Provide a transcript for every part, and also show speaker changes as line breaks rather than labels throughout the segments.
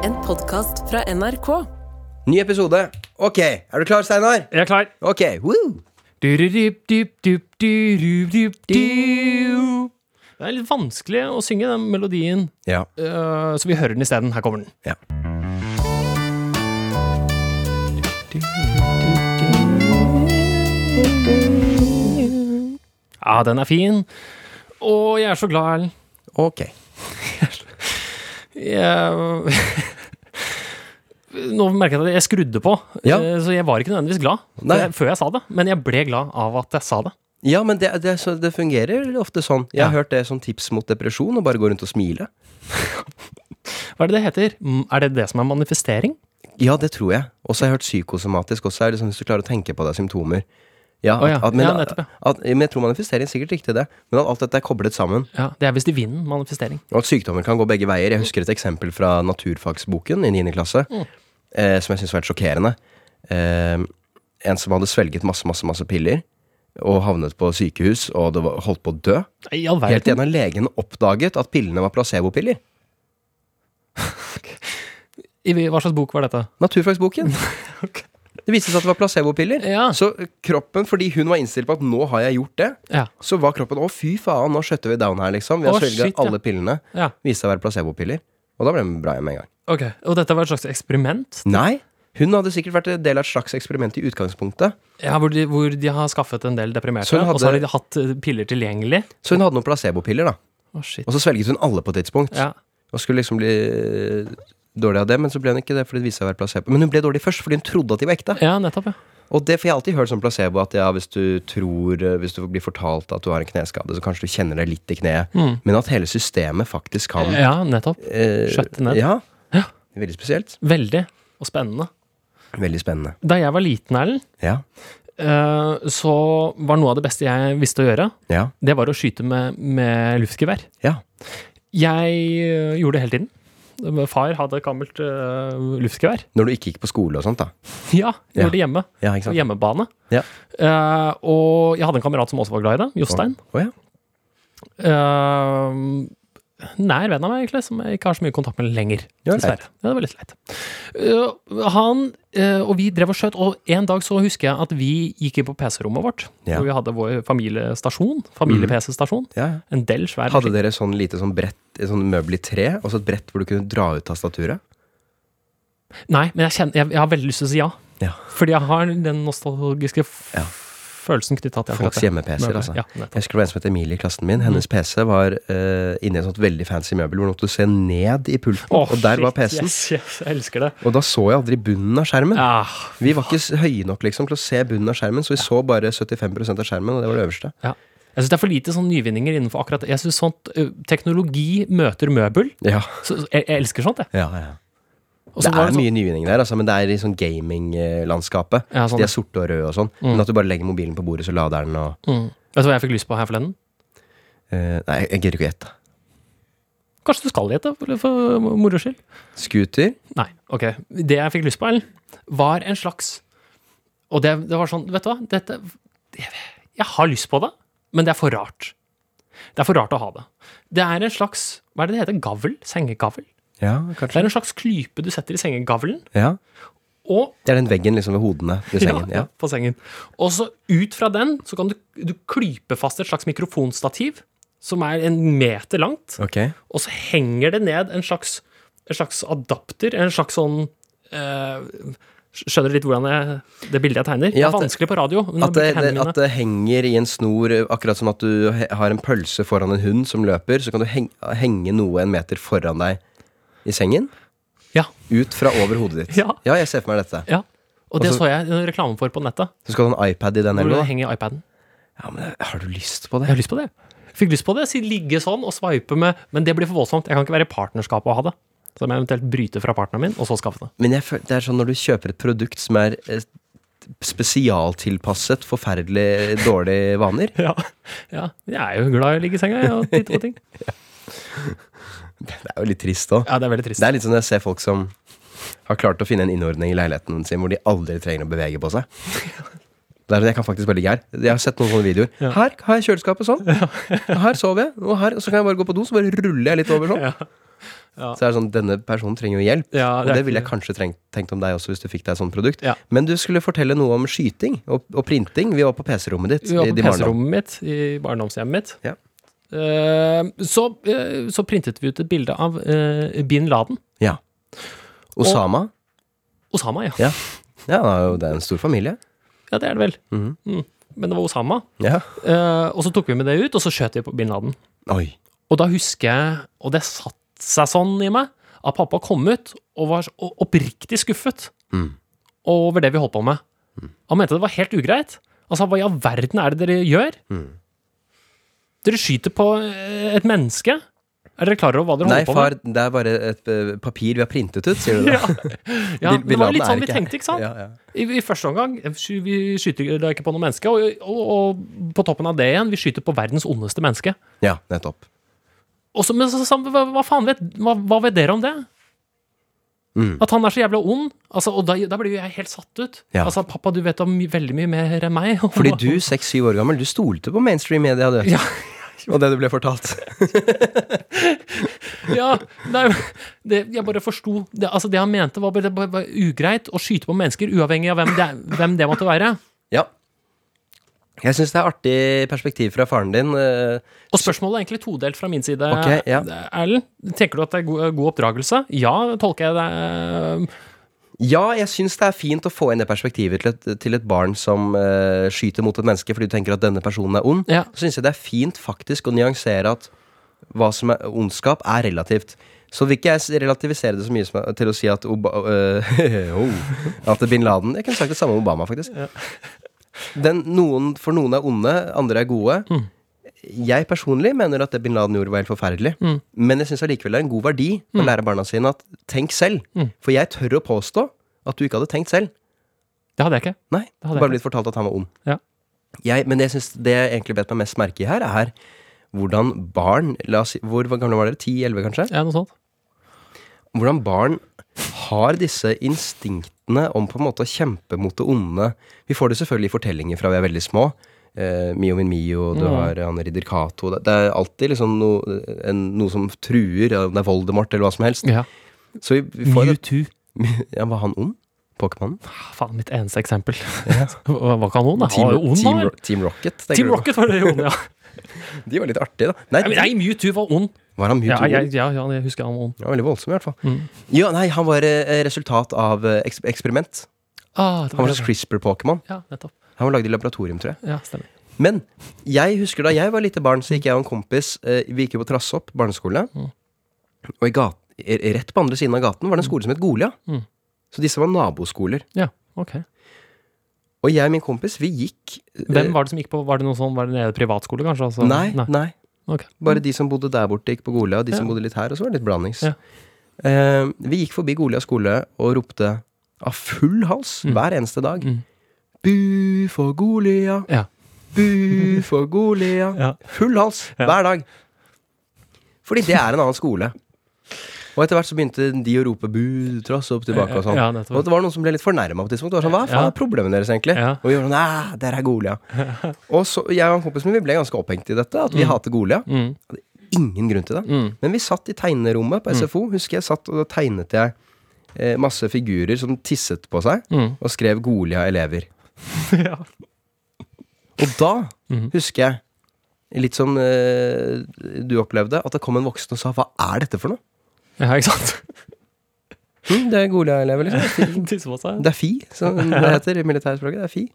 podkast fra NRK.
Ny episode. Ok, er du klar, Steinar?
Jeg er klar.
Ok, woo!
Det er litt vanskelig å synge den melodien,
Ja.
Eh, så vi hører den isteden. Her kommer den.
ja.
Ja, den er fin. Og jeg er så glad, Erlend.
Ok.
Jeg... Nå merket jeg at jeg skrudde på,
Ja.
eh, så jeg var ikke nødvendigvis glad
Nei.
før jeg- før jeg sa det. Men jeg ble glad av at jeg sa det.
Ja, men det, det, så det fungerer ofte sånn. Jeg har
Ja.
hørt det som tips mot depresjon, å bare gå rundt og smile.
Hva er det det heter? Mm, Er det det som er manifestering?
Ja, det tror jeg. Og så har jeg hørt psykosomatisk også. Er det sånn, hvis du klarer å tenke på deg symptomer. Ja,
Å ja.
at- at- men,
Ja, nettopp, ja.
at, men jeg tror manifestering er sikkert riktig det. Men at alt dette er koblet sammen.
Ja, Det er visst i vinden, manifestering.
Og at sykdommer kan gå begge veier. Jeg husker et eksempel fra naturfagsboken i 9. klasse,
Mm.
eh, som jeg syns var helt sjokkerende. Eh, en som hadde svelget masse, masse, masse piller, og havnet på sykehus, og det var, holdt på å dø.
I all
Helt
verden.
igjen har legen oppdaget at pillene var placebopiller.
I hva slags bok var dette?
Naturfagsboken. Det viste seg at det var placebopiller.
Ja.
Så kroppen, fordi hun var innstilt på at nå har jeg gjort det,
Ja.
så var kroppen å fy faen, nå skjøtter vi down her, liksom. Vi har
Å, shit,
svelget
ja.
alle pillene.
ja.
Viste seg å være placebopiller. Og da ble hun bra igjen med en gang.
Ok, Og dette var et slags eksperiment?
Nei, hun hadde sikkert vært en del av et slags eksperiment i utgangspunktet.
Ja, hvor de, hvor de har skaffet en del deprimerte,
Så hun hadde-
og så har de hatt eh, piller tilgjengelig?
Så hun hadde noen placebopiller, da.
Å, shit.
Og så svelget hun alle på et tidspunkt.
Ja.
Og skulle liksom bli dårlig av det, men så ble hun ikke det fordi det viste seg å være placebo. Men hun ble dårlig først fordi hun trodde at de var ekte.
ja, nettopp, ja.
Og det, for jeg har alltid hørt sånn placebo at ja, hvis du tror eh, Hvis du blir fortalt at du har en kneskade, så kanskje du kjenner det litt i kneet.
Mm.
Men at hele systemet faktisk kan
Ja, nettopp.
eh,
skjøtte ned.
Ja.
Ja.
Veldig spesielt.
Veldig. Og spennende.
Veldig spennende.
Da jeg var liten, Erlend,
Ja.
eh, så var noe av det beste jeg visste å gjøre,
Ja.
det var å skyte med, med luftgevær.
Ja.
Jeg eh, gjorde det hele tiden. Far hadde et gammelt eh, luftgevær.
Når du ikke gikk på skole og sånt, da.
Ja,
Ja.
gjorde det hjemme.
Ja, ikke
På
sant?
hjemmebane.
Ja.
Eh, og jeg hadde en kamerat som også var glad i det, Jostein.
Å ja.
Eh, nær venn av meg, egentlig, som jeg ikke har så mye kontakt med lenger.
Ja, leit.
dessverre. Ja, det var litt leit. Eh, han eh, og vi drev og skjøt, og en dag så husker jeg at vi gikk inn på PC-rommet vårt.
Ja.
Hvor vi hadde vår familiestasjon. Familie-PC-stasjon.
ja. ja.
En del svær
Hadde dere sånn lite sånn brett, et sånn møbel i tre, og så et brett hvor du kunne dra ut tastaturet?
Nei, men jeg, kjenner, jeg, jeg har veldig lyst til å si ja.
Ja.
Fordi jeg har den nostalgiske f
Ja.
følelsen knytta til
Folks hjemme-PC-er, altså.
Ja, Mm. nettopp.
Jeg husker det var en som het Emilie i klassen min. Hennes PC var eh, inni et sånt veldig fancy møbel hvor hun måtte se ned i pulten,
Å,
og der var
shit,
PC-en.
Yes, yes, jeg elsker det.
Og da så jeg aldri bunnen av skjermen.
Ah,
Vi var ikke s- høye nok liksom, til å se bunnen av skjermen, så vi så bare 75 av skjermen, og det var det øverste.
ja. Jeg syns det er for lite sånn nyvinninger innenfor akkurat det. Jeg synes sånt ø, Teknologi møter møbel.
Ja,
Så, så jeg, jeg elsker sånt, jeg.
ja, ja.
Og
Det
så var
er
sånn-
mye nyvinninger der, altså, men det er i sånn gaminglandskapet.
Ja,
Så
sånn,
de
ja.
er sorte og røde og sånn. Men at du bare legger mobilen på bordet, så lader den og
mm. Vet du hva jeg fikk lyst på her forleden?
eh, Nei, jeg gidder ikke å gjette.
Kanskje du skal gjette, for, for moro skyld?
Scooter?
Nei, ok. Det jeg fikk lyst på, Ellen, var en slags Og det, det var sånn, vet du hva Dette, jeg, jeg har lyst på det, men det er for rart. Det er for rart å ha det. Det er en slags Hva er det det heter? Gavl? Sengegavl?
Ja,
Det
kanskje.
er en slags klype du setter i sengegavlen,
Ja.
og
Det er den veggen liksom ved hodene ved sengen. Ja.
på sengen. Og så ut fra den så kan du, du klype fast et slags mikrofonstativ, som er en meter langt.
Ok.
Og så henger det ned en slags, en slags adapter, en slags sånn eh, Skjønner du litt hvordan jeg, det bildet jeg tegner?
Ja,
det er
at-
vanskelig på radio. men
At eh,
jeg
det,
bruker hendene
at
mine.
det henger i en snor, eh, akkurat som at du he- har en pølse foran en hund som løper, så kan du heng, henge noe en meter foran deg i sengen.
Ja,
Ut fra over hodet ditt.
Ja.
jeg ser for meg dette.
ja. Og det
Altså-
så jeg en reklame for på nettet.
Så skal du ha en iPad i den
Hvor det
eller noe.
henger i iPaden.
Ja, men eh, har du lyst på det?
Jeg har lyst på det. Fikk lyst på det. Si, ligge sånn og sveipe med Men det blir for voldsomt. Jeg kan ikke være i partnerskap og ha det. Så jeg må eventuelt bryte fra partneren min, og så skaffe det.
Men jeg føler, det er sånn når du kjøper et produkt som er eh, spesialtilpasset forferdelig dårlige vaner.
Ja. ja. Jeg er jo glad i å ligge i senga jeg, og titte på ting.
Det er jo litt trist òg.
Ja, det er veldig trist.
Det er litt sånn jeg ser folk som har klart å finne en innordning i leiligheten sin hvor de aldri trenger å bevege på seg. Det er, jeg kan faktisk bare ligge her. Jeg har sett noen sånne videoer. Her har jeg kjøleskapet sånn. Her sover jeg. Og her, så kan jeg bare gå på do, så bare ruller jeg litt over sånn.
Ja.
Så er det sånn, denne personen trenger jo hjelp.
Ja,
Og det ville jeg kanskje trengt, tenkt om deg også, hvis du fikk deg et sånt produkt.
Ja.
Men du skulle fortelle noe om skyting og, og printing. Vi var på PC-rommet ditt.
Vi var
i-
på
i barndommen.
PC-rommet mitt, i barndomshjemmet mitt.
Ja.
Eh, så, eh, så printet vi ut et bilde av eh, bin Laden.
Ja. Osama.
Osama, ja.
Ja, han er jo- det er en stor familie.
Ja, det er det vel.
Mhm.
Mm. Men det var Osama.
Ja.
Eh, og så tok vi med det ut, og så skjøt vi på bin Laden.
Oi.
Og da husker jeg, og det satt seg sånn i meg, at pappa kom ut og var så- og oppriktig skuffet
Mm.
over det vi holdt på med. Han mente det var helt ugreit. Altså, hva i all verden er det dere gjør?
Mm.
Dere skyter på eh, et menneske. Er dere klar over hva dere
Nei,
holder på med?
far, det er bare et eh, papir vi har printet ut, sier du da.
Ja,
Bin-
det
Bin Laden
var jo litt
er
sånn vi
ikke-
tenkte, ikke sant?
Ja, ja.
I, I første omgang eh, sky- vi skyter da ikke på noe menneske, og, og, og på toppen av det igjen, vi skyter på verdens ondeste menneske.
ja, nettopp.
Og så, men så, så, hva, hva faen vet hva, hva vet dere om det?
Mm.
At han er så jævla ond? Altså, og da, da blir jo jeg helt satt ut.
Ja.
Altså, pappa, du vet da my, veldig mye mer enn meg.
Fordi du, seks-syv år gammel, du stolte på mainstream media, du.
Ja.
Og det du ble fortalt.
Ja, nei, det, jeg bare forsto det, altså, det han mente, var bare, det bare var ugreit å skyte på mennesker, uavhengig av hvem det, hvem det måtte være.
Ja. Jeg syns det er artig perspektiv fra faren din. eh,
Og spørsmålet er egentlig todelt fra min side.
Ok, ja.
Erlend, tenker du at det er god, god oppdragelse? Ja, tolker jeg det.
Ja, jeg syns det er fint å få inn det perspektivet til et, til et barn som eh, skyter mot et menneske fordi du tenker at denne personen er ond.
Ja.
Så syns jeg det er fint faktisk å nyansere at hva som er ondskap, er relativt. Så vil ikke jeg s- relativisere det så mye som jeg- til å si at Oba eh, oh, At bin Laden Jeg kunne sagt det samme om Obama, faktisk. Den, noen, for noen er onde, andre er gode. Jeg personlig mener at det bin Laden gjorde, var helt forferdelig. Men jeg syns allikevel det er en god verdi å lære barna sine at tenk selv. For jeg tør å påstå at du ikke hadde tenkt selv.
Det hadde jeg ikke.
Nei,
Det hadde jeg
bare
ikke.
blitt fortalt at han var ond.
Ja.
Jeg, men jeg synes det jeg egentlig bet meg mest merke i her, er hvordan barn la oss, si- Hvor hvor gamle var dere? 10-11, kanskje?
Ja, noe sånt.
hvordan barn har disse instinktene om på en måte å kjempe mot det onde. Vi får det selvfølgelig i fortellinger fra vi er veldig små. Eh, Mio min Mio, du har han Ridder Cato Det det er alltid liksom noe, en, noe som truer, om det er Voldemort eller hva som helst.
Ja.
Så vi, vi får
Mewtwo.
ja, Var han ond? Pokémonen?
Ah, Faen, mitt eneste eksempel. Hva var ikke han ond? da? Han var jo ond,
Team,
han.
Ro- Team Rocket? tenker
Team
du på?
Rocket var det jo ond, ja.
De var litt artige, da. Nei,
Nei, men Nei, Mewtwo var ond.
var Mm. han Mewtwo?
Ja, jeg, ja, ja, jeg husker han var ond.
Han var veldig voldsom, i hvert fall. Ja, nei, han var eh, resultat av eh, eks eksperiment.
Ah, det
Han
var
var en slags CRISPR-Pokémon.
Ja, nettopp.
Han var lagd i laboratorium, tror jeg.
Ja, stemmer.
Men jeg husker da jeg var lite barn, så gikk jeg og en kompis eh, Vi gikk jo på Trassopp barneskole.
Mm.
Og i gat, i- rett på andre siden av gaten var det en skole som het Golia.
Mm.
Så disse var naboskoler.
Ja, ok.
Og jeg og min kompis, vi gikk eh,
Hvem var det som gikk på Var det noe sånn, var det nede i privatskole, kanskje? Altså,
Nei, nei.
Ok.
Bare de som bodde der borte, gikk på Golia, og de som
Mm. Ja.
bodde litt her. Og så var det litt blandings.
Ja.
Eh, vi gikk forbi Golia skole og ropte av full hals
Mm.
hver eneste dag.
Mm.
Bu for Golia.
Ja.
Bu for Golia.
Ja.
Full hals
Ja.
hver dag. Fordi det er en annen skole. Og etter hvert så begynte de å rope bu, trass opp tilbake og sånn.
Ja, nettopp.
og det var noen som ble litt fornærma på et tidspunkt. Det var sånn, Hva faen
Ja.
er problemet deres, egentlig?
Ja.
Og vi var sånn Nei, der er Golia. og så, jeg og en kompis min vi ble ganske opphengt i dette, at vi hater Golia.
Mm.
Ingen grunn til det.
Mm.
Men vi satt i tegnerommet på SFO, husker jeg satt, og da tegnet jeg eh, masse figurer som tisset på seg,
Mm.
og skrev Golia elever.
ja.
Og da
Mhm.
husker jeg, litt som eh, du opplevde, at det kom en voksen og sa 'hva er dette for noe'?
ja, ikke sant?
Hm, det er Golia-elever, liksom.
Tisse på seg.
Det er FI, som det heter i militærspråket. Det er FI.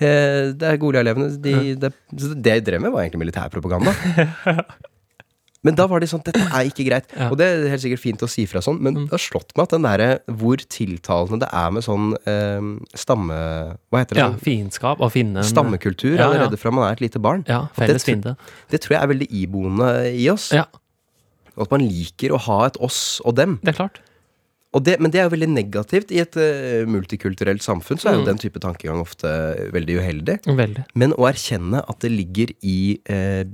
Eh, det er Golia-elevene. De, det, så det jeg drev med, var egentlig militærpropaganda. Men da var de sånn 'dette er ikke greit'.
Ja. Mm.
Og det er helt sikkert fint å si fra sånn, men det har slått meg at den derre hvor tiltalende det er med sånn eh, stamme... Hva heter det?
Ja,
sånn
fiendskap og finne en
Stammekultur
Ja, ja.
allerede fra man er et lite barn.
Ja,
At det
felles
tr-
fiende.
Det tror jeg er veldig iboende i oss.
Ja,
Og At man liker å ha et oss og dem.
det er klart.
Og det, men det er jo veldig negativt. I et eh, multikulturelt samfunn så er
Mm.
jo den type tankegang ofte eh, veldig uheldig.
Veldig.
Men å erkjenne at det ligger i eh,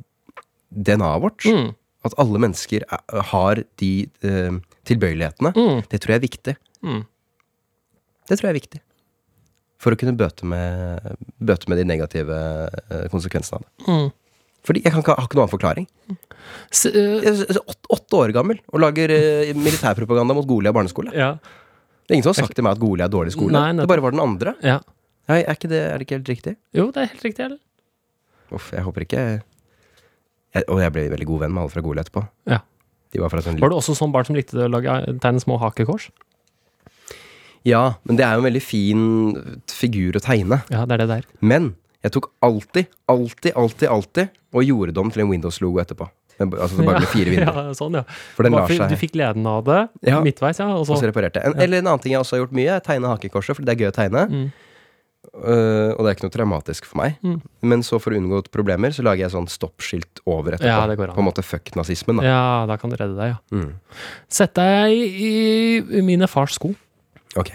DNA-et vårt,
Mm.
at alle mennesker er, har de eh, tilbøyelighetene,
Mm.
det tror jeg er viktig.
Mm.
Det tror jeg er viktig. For å kunne bøte med, bøte med de negative eh, konsekvensene av det.
Mm.
Fordi jeg, kan ikke, jeg har ikke noen annen forklaring.
S øh,
Jeg er s- s- åt- Åtte år gammel og lager eh, militærpropaganda mot Golia barneskole.
ja.
Det er ingen som har sagt til meg at Golia er dårlig skole.
Nei, nettopp.
det bare var den andre.
ja.
Nei, er, ikke det, er det ikke helt riktig?
Jo, det er helt riktig, eller?
Uff, jeg håper ikke jeg, Og jeg ble veldig god venn med alle fra Golia etterpå.
Ja.
De var fra sånn
Var du også sånn barn som likte å lage tegne små hakekors?
Ja, men det er jo en veldig fin figur å tegne.
Ja, det er det der.
Men jeg tok alltid, alltid, alltid, alltid og gjorde det om til en Windows-logo etterpå. Men b- Altså det bare ble fire vinduer.
Ja, sånn, ja.
For den
Hva-
lar seg
Du fikk gleden av det
Ja.
midtveis, ja. Og
Og så
så,
reparerte jeg. En, Eller en annen ting jeg også har gjort mye, er tegne hakekorset, fordi det er gøy å tegne.
Mm.
Øh, og det er ikke noe traumatisk for meg.
Mm.
Men så for å unngå problemer, så lager jeg sånn stoppskilt over etterpå.
Ja, det går an.
På en måte fuck nazismen, da.
ja, da kan du redde deg, ja.
Mm.
Sett deg i i mine fars sko.
Ok.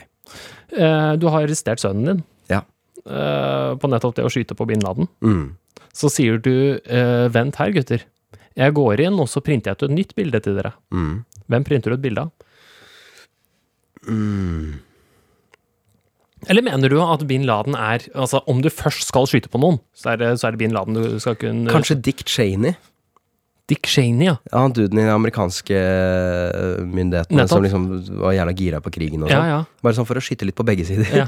Eh, Du har arrestert sønnen din
Ja.
eh, på nettopp det å skyte på bin Laden.
Mm.
Så sier du eh, 'vent her, gutter'. Jeg går inn, og så printer jeg ut et nytt bilde til dere.
Mm.
Hvem printer du et bilde av? Eller mener du at bin Laden er Altså, om du først skal skyte på noen, så er det, så er det bin Laden du skal kunne
Kanskje Dick Cheney?
Dick Cheney, ja.
Ja, han duden i de amerikanske øh, myndighetene
Nettopp.
som liksom var jævla gira på krigen og
Ja,
sånn.
ja.
Bare sånn for å skyte litt på begge sider.
ja.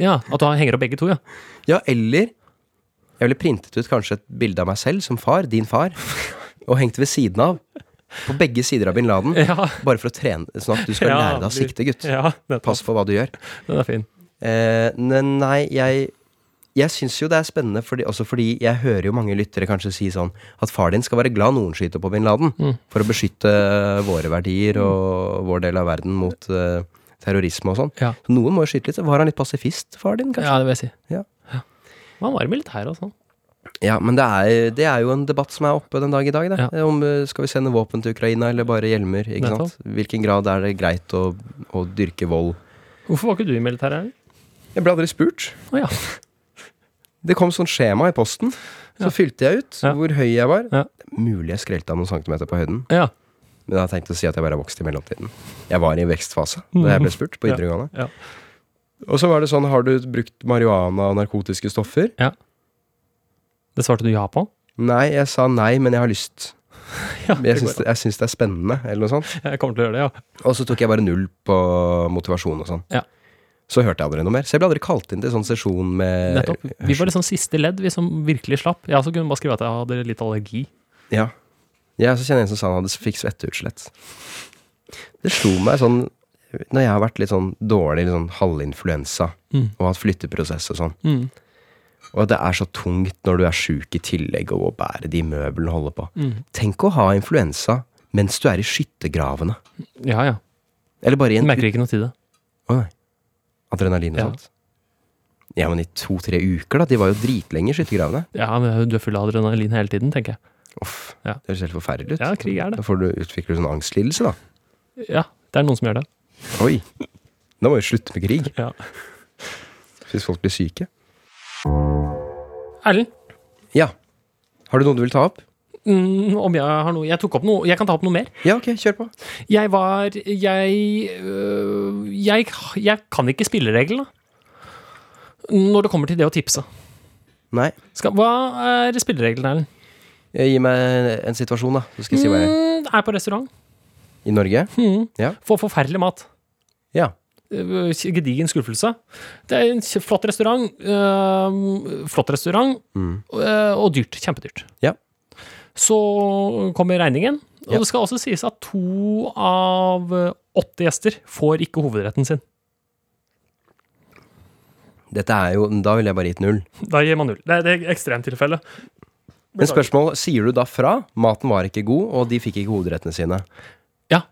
Ja, At du henger opp begge to, ja.
Ja, eller Jeg ville printet ut kanskje et bilde av meg selv som far, din far, og hengt ved siden av. På begge sider av bin Laden.
Ja,
Bare for å trene, sånn at du skal
Ja,
lære deg å
blir-
sikte, gutt.
ja nettopp.
Pass på hva du gjør.
Den er fin.
Eh, ne- nei, jeg jeg syns jo det er spennende, fordi, også fordi jeg hører jo mange lyttere kanskje si sånn at far din skal være glad noen skyter på bin Laden,
Mm.
for å beskytte våre verdier og vår del av verden mot eh, terrorisme og sånn.
Ja.
Så noen må jo skyte litt. Så Var han litt pasifist, far din, kanskje?
ja, det vil jeg si.
Ja.
Man var i militæret og sånn.
Ja, men det er, det er jo en debatt som er oppe den dag i dag. Da.
Ja.
Om eh, skal vi sende våpen til Ukraina eller bare hjelmer? Ikke sant? Hvilken grad er det greit å, å dyrke vold?
Hvorfor var ikke du i militæret? Erling?
Jeg ble aldri spurt.
Å ja.
Det kom sånn skjema i posten. Så fylte jeg ut
Ja.
hvor høy jeg var.
Ja.
Mulig jeg skrelte av noen centimeter på høyden,
ja.
men jeg har tenkt å si at jeg bare er vokst i mellomtiden. Jeg var i en vekstfase da jeg ble spurt på
Mhm. Ja.
videregående.
Ja.
Og så var det sånn, har du brukt marihuana og narkotiske stoffer?
Det svarte du ja på?
Nei, jeg sa nei, men jeg har lyst.
Ja, det
Jeg syns
går.
jeg syns det er spennende, eller noe sånt.
Jeg kommer til å gjøre det, ja.
Og så tok jeg bare null på motivasjon og sånn.
Ja.
Så hørte jeg aldri noe mer. Så jeg ble aldri kalt inn til sånn sesjon med
Nettopp. Vi var liksom siste ledd, vi som virkelig slapp. Jeg også kunne bare skrive at jeg hadde litt allergi.
Ja. ja, så kjenner jeg en som sa han hadde fikk svetteutslett. Det slo meg sånn Når jeg har vært litt sånn dårlig, litt sånn halvinfluensa,
Mm.
og hatt flytteprosess og sånn, og det er så tungt når du er sjuk i tillegg, og å bære de møblene og holde på
mm.
Tenk å ha influensa mens du er i skyttergravene.
Ja, ja.
Eller bare i
Jeg
en
merker ikke noe til det.
Å nei. Adrenalin og
Ja.
sånt. Ja, men i to-tre uker, da. De var jo dritlenge i skyttergravene.
Ja, men Du er full av adrenalin hele tiden, tenker jeg.
Uff.
Ja.
Det høres helt forferdelig ut.
Ja, krig er det.
Da får du utvikler du sånn angstlidelse, da.
Ja, det er noen som gjør det.
Oi. Da må vi slutte med krig.
Ja.
Hvis folk blir syke.
Erlend,
Ja. Har du noe du vil ta opp?
mm, om jeg har noe Jeg tok opp noe. Jeg kan ta opp noe mer.
Ja, ok, kjør på.
Jeg var Jeg øh, jeg, jeg kan ikke spillereglene når det kommer til det å tipse.
Nei.
Skal, hva er spillereglene, Erlend?
Eh, Gi meg en situasjon, da. Så skal jeg si hva jeg
Mm, er på restaurant.
I Norge?
Mm.
Ja.
Får forferdelig mat.
Ja.
Øh, Gedigen skuffelse. Det er en kje- flott restaurant. øh, flott restaurant,
Mm.
øh, og dyrt. Kjempedyrt.
Ja.
Så kommer regningen. Og
Ja.
det skal også sies at to av øh, åtte gjester får ikke hovedretten sin.
Dette er jo Da ville jeg bare gitt null.
Da gir man null. Det er det er ekstremtilfelle.
Men spørsmål, sier du da fra? Maten var ikke god, og de fikk ikke hovedrettene sine.
Ja.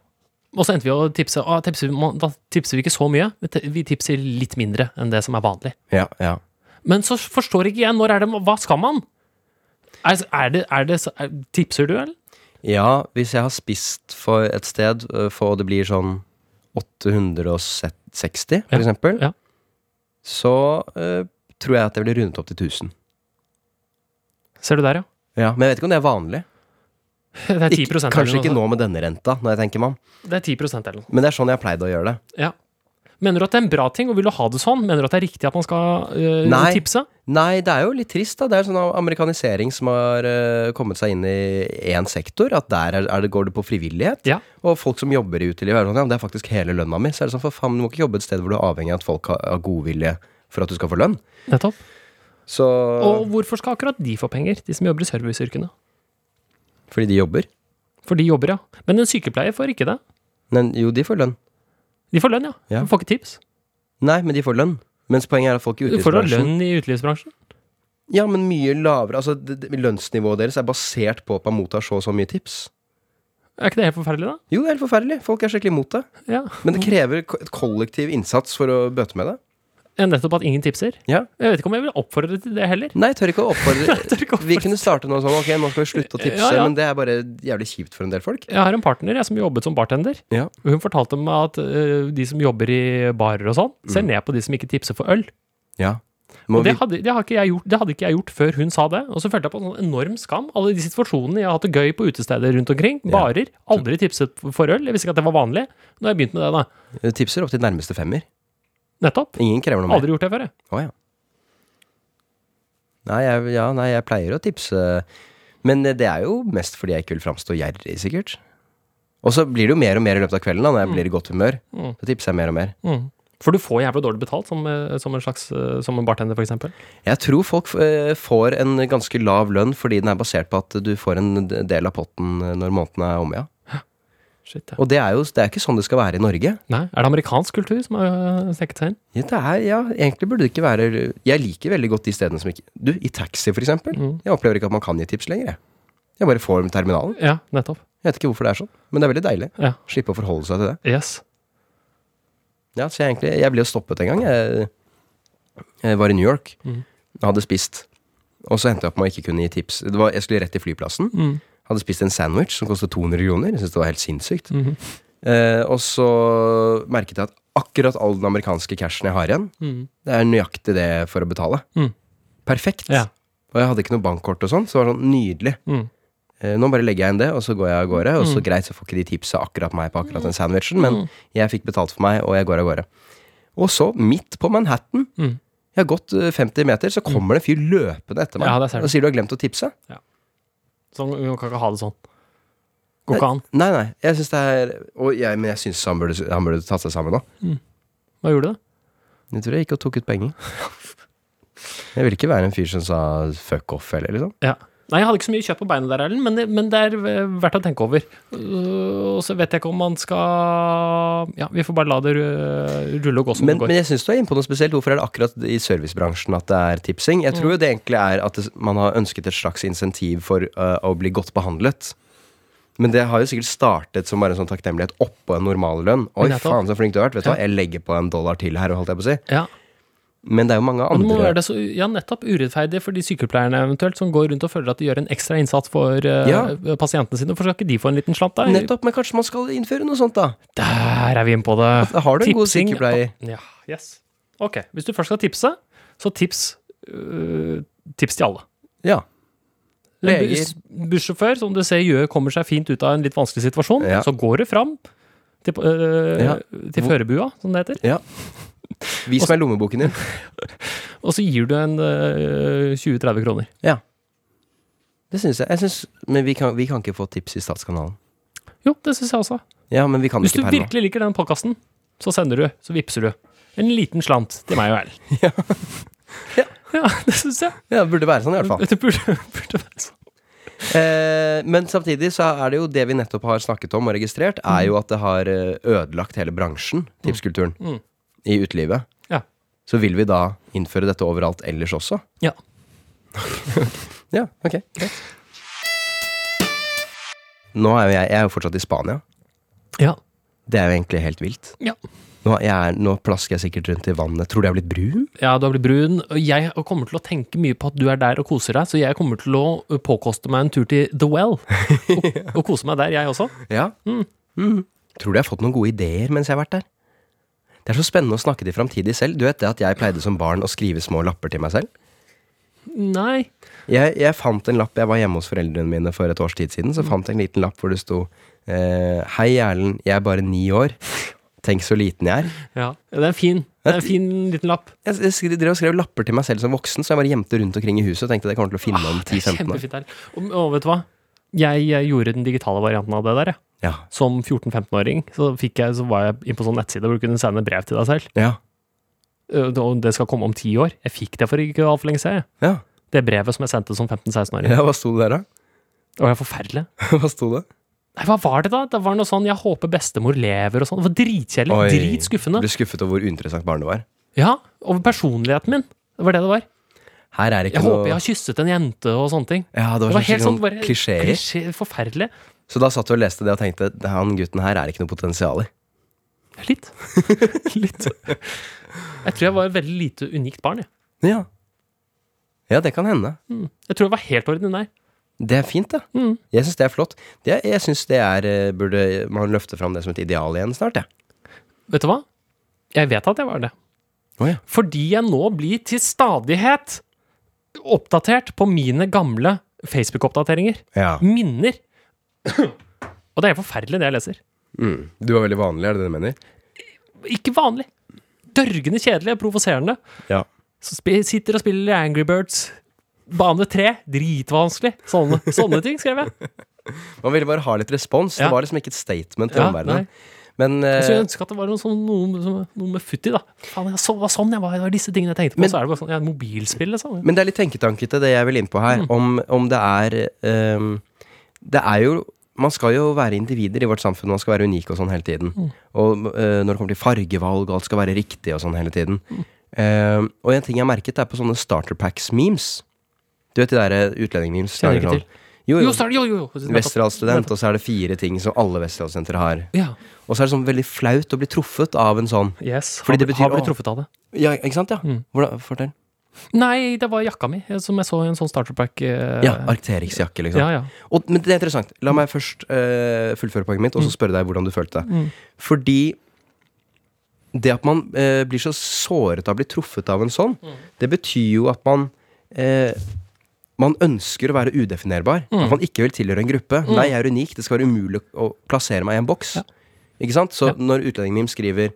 Og så endte vi å tipse. Ah, tipser, vi- må- da tipser vi ikke så mye. Vi te- Vi tipser litt mindre enn det som er vanlig.
Ja, ja.
Men så forstår ikke jeg. Når er det Hva skal man? Er, er det, er det så- er, Tipser du, eller?
Ja, hvis jeg har spist for et sted, øh, for det blir sånn 860, for
Ja,
eksempel,
ja.
så øh, tror jeg at jeg ville rundet opp til 1000.
Ser du der, ja.
Ja, men jeg vet ikke om det er vanlig.
Det er 10
Ikke, kanskje ikke nå med denne renta, når jeg tenker meg om.
Det er 10 eller noe.
Men det er sånn jeg har pleid å gjøre det.
Ja. Mener du at det er en bra ting, og vil du ha det sånn? Mener du at det er riktig at man skal øh,
Nei.
tipse?
Nei, det er jo litt trist. da Det er sånn amerikanisering som har eh, kommet seg inn i én sektor. At der er, er det, går det på frivillighet.
Ja.
Og folk som jobber i utelivet, er sånn, ja, men det er faktisk hele lønna mi. Så er det sånn, for faen, du må ikke jobbe et sted hvor du er avhengig av at folk har har godvilje for at du skal få lønn.
Nettopp.
Så
Og hvorfor skal akkurat de få penger, de som jobber i serviceyrkene?
Fordi de jobber.
For de jobber, ja. Men en sykepleier får ikke det.
Men jo, de får lønn.
De får lønn, ja.
Ja.
De får ikke tips.
Nei, men de får lønn. Mens poenget er at folk i
Du får da
utelivsbransjen
lønn i utelivsbransjen.
Ja, men mye lavere. Altså, det- det- lønnsnivået deres er basert på at man mottar så og så mye tips.
Er ikke det helt forferdelig, da?
Jo, det er helt forferdelig. Folk er skikkelig imot det.
Ja.
Men det krever ko- et kollektiv innsats for å bøte med det.
Nettopp at ingen tipser.
Ja.
Jeg vet ikke om jeg vil oppfordre til det heller.
Nei, jeg tør ikke å oppfordre
Jeg tør ikke
Vi
oppfordre.
kunne starte noe sånn, ok, nå skal vi slutte å tipse,
Ja, ja.
men det er bare jævlig kjipt for en del folk.
Jeg har en partner jeg, som jobbet som bartender.
Ja.
Og Hun fortalte meg at øh, de som jobber i barer og sånn,
Mm.
ser ned på de som ikke tipser for øl.
Ja.
Og
Må
det
vi,
hadde, det, har ikke jeg gjort, det hadde ikke jeg gjort før hun sa det. Og så følte jeg på en sånn enorm skam. Alle de situasjonene jeg har hatt det gøy på utesteder rundt omkring.
Ja.
Barer. Aldri tipset for øl. Jeg visste ikke at det var vanlig. Nå har jeg begynt med det, da.
eh, tipser opp til nærmeste femmer.
Nettopp.
Ingen krever noe mer.
Aldri gjort det før, jeg.
Å, ja. Nei, jeg, ja, nei, jeg pleier å tipse, men det er jo mest fordi jeg ikke vil framstå gjerrig, sikkert. Og så blir det jo mer og mer i løpet av kvelden, da, når jeg blir i godt humør.
Mm.
Så tipser jeg mer og mer.
Mm. For du får jævla dårlig betalt som, eh, som en slags eh, Som en bartender, for eksempel.
Jeg tror folk eh, får en ganske lav lønn fordi den er basert på at du får en del av potten eh, når måneden er omme, ja.
Shit, ja.
Og det er jo det er ikke sånn det skal være i Norge.
Nei, Er det amerikansk kultur som har eh, sneket seg inn?
Ja, det er, ja, egentlig burde det ikke være Jeg liker veldig godt de stedene som ikke Du, i taxi, for eksempel.
Mm.
Jeg opplever ikke at man kan gi tips lenger, jeg. Jeg bare får dem i terminalen.
Ja, nettopp.
Jeg vet ikke hvorfor det er sånn, men det er veldig deilig.
Ja.
Slippe å forholde seg til det.
Yes.
Ja, så jeg egentlig Jeg ble jo stoppet en gang. Jeg, jeg var i New York.
Mm.
Hadde spist. Og så endte jeg opp med å ikke kunne gi tips. Det var, jeg skulle rett til flyplassen.
Mm.
Hadde spist en sandwich som kostet 200 kroner. Jeg syntes det var helt sinnssykt.
Mhm.
Eh, og så merket jeg at akkurat all den amerikanske cashen jeg har igjen,
Mm.
Det er nøyaktig det for å betale.
Mm.
Perfekt.
Ja.
Og jeg hadde ikke noe bankkort og sånn, så det var sånn nydelig.
Mm.
Eh, nå bare legger jeg inn det, og så går jeg av gårde. Og så
Mm.
greit, så får ikke de tipsa akkurat meg på akkurat den sandwichen, men
Mm.
jeg fikk betalt for meg, og jeg går av gårde. Og så, midt på Manhattan,
Mm.
jeg har gått eh, 50 meter, så kommer det en fyr løpende etter meg
Ja, det ser du.
og sier du har glemt å tipse.
Sånn, hun kan ikke ha det sånn. Går ikke an.
Nei, nei, jeg syns det er og jeg, Men jeg syns han burde, han burde tatt seg sammen nå.
Hva gjorde du? da?
Jeg tror jeg gikk og tok ut penger. Jeg vil ikke være en fyr som sa fuck off, eller liksom.
Ja. Nei, Jeg hadde ikke så mye kjøtt på beinet der, Erlend, men, det- men det er eh, verdt å tenke over. Øh, Og så vet jeg ikke om man skal Ja, vi får bare la det ru- rulle og gå som
Men,
det går.
men jeg syns du er inne på noe spesielt. Hvorfor er det akkurat i servicebransjen at det er tipsing?
Mm.
Jeg tror jo det egentlig er at det, man har ønsket et slags insentiv for øh, å bli godt behandlet. Men det har jo sikkert startet som bare en sånn takknemlighet oppå en normallønn. Oi,
Nettopp.
faen så flink du har vært. Vet du
Ja.
hva, jeg legger på en dollar til her, holdt jeg på å si.
Ja,
Men det er jo mange
men det må
andre
være det så, ja, nettopp urettferdig for de sykepleierne eventuelt, som går rundt og føler at de gjør en ekstra innsats for eh,
Ja.
pasientene sine. Hvorfor skal ikke de få en liten slant der?
Nettopp, men kanskje man skal innføre noe sånt, da.
Der er vi inne på det.
Da har du en god sykepleier.
Ja, yes. Ok, hvis du først skal tipse, så tips, øh, tips til alle.
Ja.
En
Leger.
buss, bussjåfør som du ser gjør, kommer seg fint ut av en litt vanskelig situasjon,
Ja.
så går det fram til, øh,
Ja.
til førerbua, som det heter,
Vis meg lommeboken din.
og så gir du en øh, 20-30 kroner.
Ja. Det syns jeg. jeg synes, men vi kan, vi kan ikke få tips i Statskanalen.
Jo, det syns jeg også.
Ja, men vi kan
Hvis
ikke
du
per nå.
virkelig liker den podkasten, så sender du, så vippser du. En liten slant til meg og Erlend.
Ja.
ja, det syns jeg.
Ja, det burde være sånn, i hvert fall.
Det burde, burde være sånn.
Eh, men samtidig så er det jo det vi nettopp har snakket om og registrert, er jo at det har eh, ødelagt hele bransjen, tipskulturen,
Mm.
i utelivet.
Ja.
Så vil vi da innføre dette overalt ellers også?
Ja.
ja, ok. greit. Nå er jo jeg, jeg er jo fortsatt i Spania.
Ja.
Det er jo egentlig helt vilt.
Ja.
Nå, jeg er, nå plasker jeg sikkert rundt i vannet. Tror du jeg er blitt brun?
Ja, du har blitt brun. og Jeg kommer til å tenke mye på at du er der og koser deg, så jeg kommer til å påkoste meg en tur til The Well. Og, og kose meg der, jeg også.
Ja.
Mm.
Mhm. Tror du jeg har fått noen gode ideer mens jeg har vært der? Det er så spennende å snakke til framtidig selv. Du vet det at jeg pleide som barn å skrive små lapper til meg selv?
Nei.
Jeg, jeg fant en lapp, jeg var hjemme hos foreldrene mine for et års
Mm.
tid siden, så fant jeg en liten lapp hvor det sto eh, Hei Erlend, jeg er bare ni år. Tenk så liten jeg er.
Ja. Det er en fin, det er en fin liten lapp.
Jeg, jeg skre- drev og skrev lapper til meg selv som voksen, så jeg bare gjemte rundt omkring i huset og tenkte det kommer til å finne om
Ah, det er
10-15 år.
kjempefint her. Og, og vet du hva? Jeg, eh, gjorde den digitale varianten av det der, jeg.
Ja.
Som 14-15-åring så, fikk jeg- så var jeg inne på sånn nettside hvor du kunne sende brev til deg selv.
Ja.
Eh, Og det skal komme om ti år. Jeg fikk det for ikke altfor lenge siden. jeg.
ja.
Det brevet som jeg sendte som 15-16-åring.
Ja, hva sto det der, da?
Det var helt forferdelig.
Hva sto det?
Nei, hva var det da? Det var noe sånn 'jeg håper bestemor lever' og sånn. Det var dritkjedelig.
Oi.
Dritskuffende.
Ble skuffet over hvor uinteressant barnet var.
Ja, over personligheten min. Det var det det var.
Her er det
Jeg
ikke
håper jeg
noe
har kysset en jente og sånne ting.
Ja, Altså- det
Det
var,
var helt
sånn,
sånn
sånn
bare
klisjeer.
klisjé- Forferdelig.
Så da satt du og leste det og tenkte han gutten her er ikke noe potensial i.
Litt. Litt. Jeg tror jeg var et veldig lite unikt barn. Jeg,
Ja. ja, det kan hende.
jeg tror jeg var helt ordinær.
Det er fint, da.
Mm.
Jeg syns det er flott. Det, jeg synes det er eh, Burde man løfte fram det som et ideal igjen snart, jeg.
Vet du hva? Jeg vet at jeg var det.
Å ja.
Fordi jeg nå blir til stadighet oppdatert på mine gamle Facebook-oppdateringer.
Ja.
Minner. Og det er helt forferdelig, det jeg leser.
Mm. Du var veldig vanlig, er det det du mener?
Ikke vanlig. Dørgende kjedelig og provoserende.
Ja.
Så spi- sitter og spiller Angry Birds. Bane 3. Dritvanskelig. Sånne, sånne ting skrev jeg.
Man ville bare ha litt respons.
Ja.
Det var liksom ikke et statement til
Ja,
omverdenen. Men,
Jeg skulle
eh,
ønske at det var noe, sånn, noe, som- noe med futti, da. Faen, jeg så, var sånn jeg var, det var disse tingene jeg tenkte på.
Men-
så er det bare sånn, ja, mobilspill, liksom.
men det er litt tenketankete, det jeg vil inn på
Mm.
her. Om, om det er ehm, Det er jo Man skal jo være individer i vårt samfunn. Man skal være unik og sånn hele tiden.
Mm.
Og eh, når det kommer til fargevalg, og alt skal være riktig og sånn hele tiden.
Mm.
Ehm, og en ting jeg har merket, er på sånne starter packs-memes. Du vet de der eh, utlending-memes?
Kjenner ikke
lager sånn-
til.
Jo,
Jo,
jo.
så er det, jo, jo, jo.
Westerdals-student, og så er det fire ting som alle Westerdals-studenter har.
Ja.
Og så er det sånn veldig flaut å bli truffet av en sånn
Yes.
Fordi
har,
det betyr-
har blitt
å.
truffet av det.
Ja, ikke sant? ja?
Mm.
Hvordan, Fortell.
Nei, det var jakka mi, eh, som jeg så i en sånn Starter Pack. eh,
Ja, Arcterix-jakke, liksom.
ja, ja.
Og, men det er interessant. La meg først eh, fullføre poenget mitt, og så spørre deg hvordan du følte det.
Mm.
Fordi det at man eh, blir så såret av å bli truffet av en sånn, det betyr jo at man eh, man ønsker å være udefinerbar. At man ikke vil tilhøre en gruppe. Nei, jeg er unik. Det skal være umulig å plassere meg i en boks. Ikke sant? Så
Ja.
når utlendingen min skriver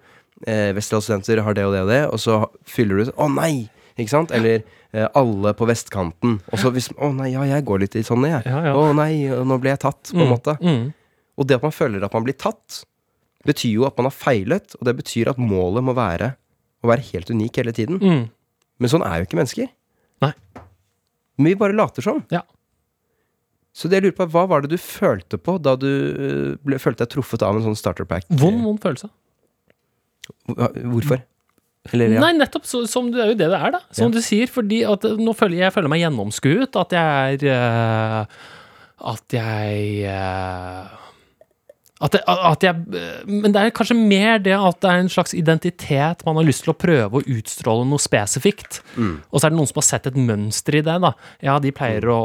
eh, Westerdals-studenter har det og det og det, og så fyller du ut Å nei! Ikke sant? Eller eh, alle på vestkanten. Og så hvis Å nei, ja, jeg går litt i sånne, jeg.
Ja, ja.
Å nei, nå ble jeg tatt, på en måte.
Mm.
Og det at man føler at man blir tatt, betyr jo at man har feilet, og det betyr at målet må være å være helt unik hele tiden.
Mm.
Men sånn er jo ikke mennesker.
Nei.
Men vi bare later som.
Ja.
Så det jeg lurer på, hva var det du følte på da du øh, ble, følte deg truffet av en sånn starter pack?
Vond, vond følelse.
Hva- Hvorfor? Eller, ja.
Nei, nettopp. Så, som det er jo det det er, da.
Ja.
Som du sier. Fordi at eh, nå føler jeg, jeg føler meg gjennomskuet. At jeg er eh, At jeg eh, at jeg, at jeg, eh, men det er kanskje mer det at det er en slags identitet man har lyst til å prøve å utstråle noe spesifikt.
Mm.
Og så er det noen som har sett et mønster i det. da Ja, de pleier å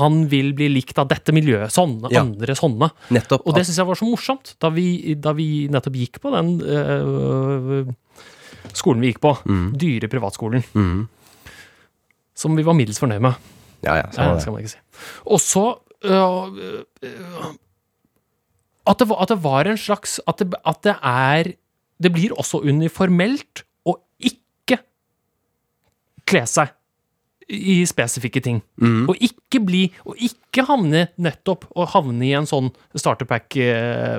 Han vil bli likt av dette miljøet. Sånne.
Ja.
Andre sånne.
Nettopp.
Og det
at-
syns jeg var så morsomt, da vi, da vi nettopp gikk på den øh, skolen vi gikk på.
Mm.
Dyre privatskolen.
Mhm.
Som vi var middels fornøyd med.
Ja, ja,
Nei,
samme
det
det.
skal man ikke si. Og så øh, øh, at, det var, at det var en slags at det, at det er Det blir også uniformelt å ikke kle seg i spesifikke ting.
Mhm.
Og ikke bli Og ikke havne nettopp Og havne i en sånn starterpack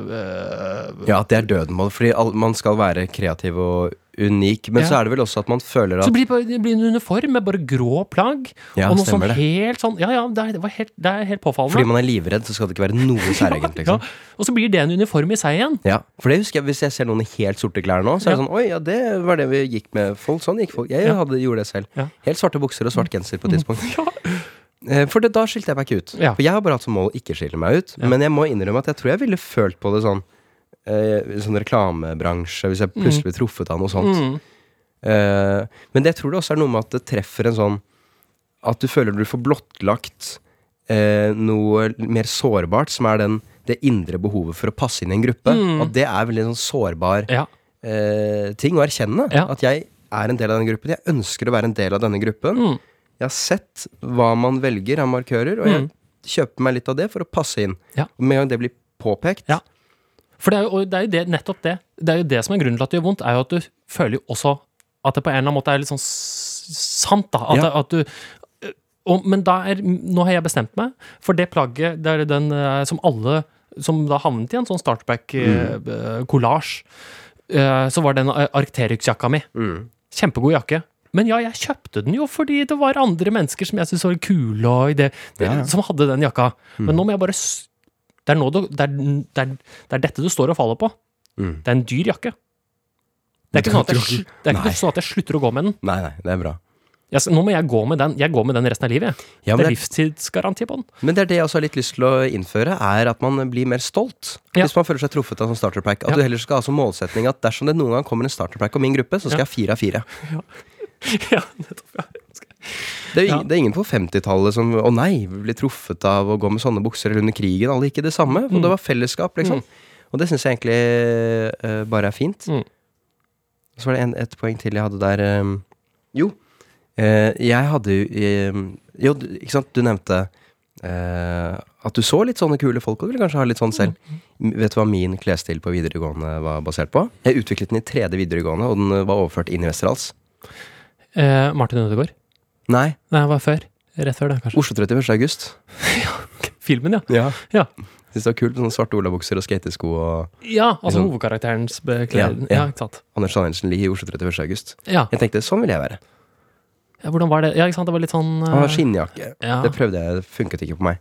uh,
Ja, at det er døden på det. Fordi all, man skal være kreativ og unik. Men
Ja.
så er det vel også at man føler
Så
at
blir det bare- det blir en uniform med bare grå plagg.
Ja,
og noe sånn
stemmer det.
helt sånn Ja, ja, det er, det var helt, det er helt
Fordi
påfallende.
man er livredd, så skal det ikke være noe særegent,
ja,
liksom.
og så blir det en uniform i seg igjen.
Ja, for det husker jeg Hvis jeg ser noen i helt sorte klær nå, så er det sånn Oi, ja, det var det vi gikk med. Folk, sånn gikk folk. Jeg
Ja.
hadde, gjorde det selv.
Ja. Mm.
Helt svarte bukser og svart genser på et tidspunkt.
Ja.
Eh, For det, da skilte jeg meg ikke ut.
Ja.
For jeg har bare hatt som mål å ikke skille meg ut. Men jeg må innrømme at jeg tror jeg ville følt på det sånn eh, Sånn reklamebransje, hvis jeg plutselig ble truffet av noe sånt.
Mm.
Eh, men det jeg tror det også er noe med at det treffer en sånn At du føler du får blottlagt eh, noe mer sårbart, som er den, det indre behovet for å passe inn i en gruppe.
Mm.
At det er veldig sånn sårbar
Ja.
eh, ting å erkjenne.
Ja.
At jeg er en del av denne gruppen. Jeg ønsker å være en del av denne gruppen.
Mm.
Jeg har sett hva man velger av markører, og jeg kjøper meg litt av det for å passe inn.
Mm. Ja.
Og med en gang det blir påpekt
Ja. For det er jo og det er jo det, nettopp det Det er jo det som er grunnen til at det gjør vondt, er jo at du føler jo også at det på en eller annen måte er litt sånn s- sant, da. At,
Ja.
det- at du og, Men da er Nå har jeg bestemt meg, for det plagget det er den eh, som alle Som da havnet i en sånn startback-kollasj, så var den eh, Arcterix-jakka mi.
Mm.
Kjempegod jakke. Men ja, jeg kjøpte den jo fordi det var andre mennesker som jeg syntes var kule, og i det,
Ja, Mm. ja.
som hadde den jakka. Men nå må jeg bare s- det er, nå du, det, er, det, er, det er dette du står og faller på.
Mm.
Det er en dyr jakke. Det er ikke, sånn at jeg, sl- det er
Nei.
ikke sånn at jeg slutter å gå med den.
Nei, nei, det er bra.
Jeg, s- nå må jeg gå med den Jeg går med den resten av livet. jeg.
Ja, men,
det er
det,
livstidsgaranti på den.
men det er det jeg også har litt lyst til å innføre, er at man blir mer stolt.
Ja.
Hvis man føler seg truffet av en sånn starter pack. At
Ja.
du heller skal ha som målsetning at dersom det noen gang kommer en starter pack om min gruppe, så skal jeg
Ja.
ha fire av fire.
ja, nettopp, ja.
Det er, jo
Ja.
ingen, det er ingen på 50-tallet som Å nei, vi ble truffet av å gå med sånne bukser under krigen. Alle gikk i det samme.
Mm.
For det var fellesskap, liksom. Og det syns jeg egentlig eh, bare er fint.
Mm.
Så var det en, et poeng til jeg hadde der. eh, jo. Eh, jeg hadde jo eh, Jo, du- ikke sant, du nevnte eh, at du så litt sånne kule folk, og ville kanskje ha litt sånn selv. M- Vet du hva min klesstil på videregående var basert på? Jeg utviklet den i tredje videregående, og den eh, var overført inn i Westerdals.
Eh, Martin Ødegaard.
Nei,
Nei, det var før. Rett før det, kanskje.
Oslo 31. august.
Filmen, ja.
Ja.
Ja,
Syns det var kult med sånne svarte olabukser og skatesko og
ja altså
Liksom-
hovedkarakterens bekledning.
Ja,
Ja,
ja.
ikke sant.
Anders Andersen Lie i Oslo 31. august.
Ja.
Jeg tenkte sånn vil jeg være.
ja, hvordan var det? Ja, ikke sant, det var litt sånn
Han har
eh,
skinnjakke.
ja. Mm.
Det prøvde jeg, det funket ikke på meg.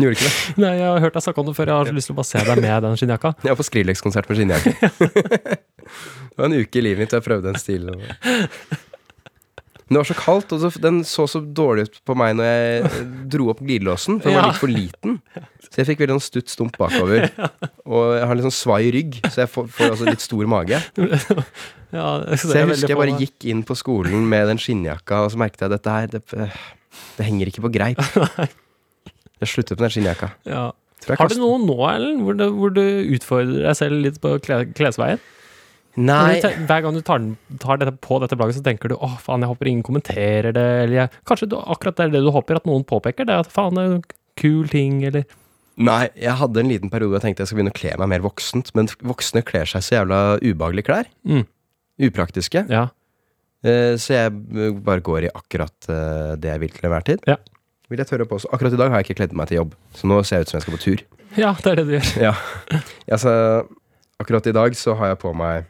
Gjorde ikke Ah. det.
Nei, jeg har hørt deg snakke om det før. Jeg har så lyst til å bare se deg med den skinnjakka.
Jeg var på Skrillex-konsert med skinnjakke. det var en uke i livet mitt da jeg prøvde den stilen. Men det var så kaldt, og så, den så så dårlig ut på meg når jeg eh, dro opp glidelåsen, for den
Ja.
var litt for liten. Så jeg fikk veldig sånn stutt stump bakover. Og jeg har litt sånn svai rygg, så jeg får, får også litt stor mage.
Ja,
Så jeg husker jeg bare gikk inn på skolen med den skinnjakka, og så merket jeg at dette her, det, eh, det henger ikke på greip. Jeg sluttet med den skinnjakka.
Ja.
Tror jeg
Har du
kastet-
noe nå, Erlend, hvor, du- hvor du utfordrer deg selv litt på kle, klesveien? Når du
Nei.
te- Hver gang du tar, den- tar dette på dette plagget, så tenker du åh, faen, jeg håper ingen kommenterer det, eller jeg, Kanskje du, akkurat det er det du håper at noen påpeker, det er at faen, det er en kul ting, eller
Nei, jeg hadde en liten periode hvor jeg tenkte jeg skal begynne å kle meg mer voksent, men voksne kler seg så jævla ubehagelige klær.
Mm.
Upraktiske.
Ja.
Eh, Så jeg eh, bare går i akkurat eh, det jeg vil til enhver tid.
Ja.
Vil jeg tørre på også. Akkurat i dag har jeg ikke kledd meg til jobb, så nå ser jeg ut som jeg skal på tur.
ja, det er det du gjør.
Ja. Altså, akkurat i dag så har jeg på meg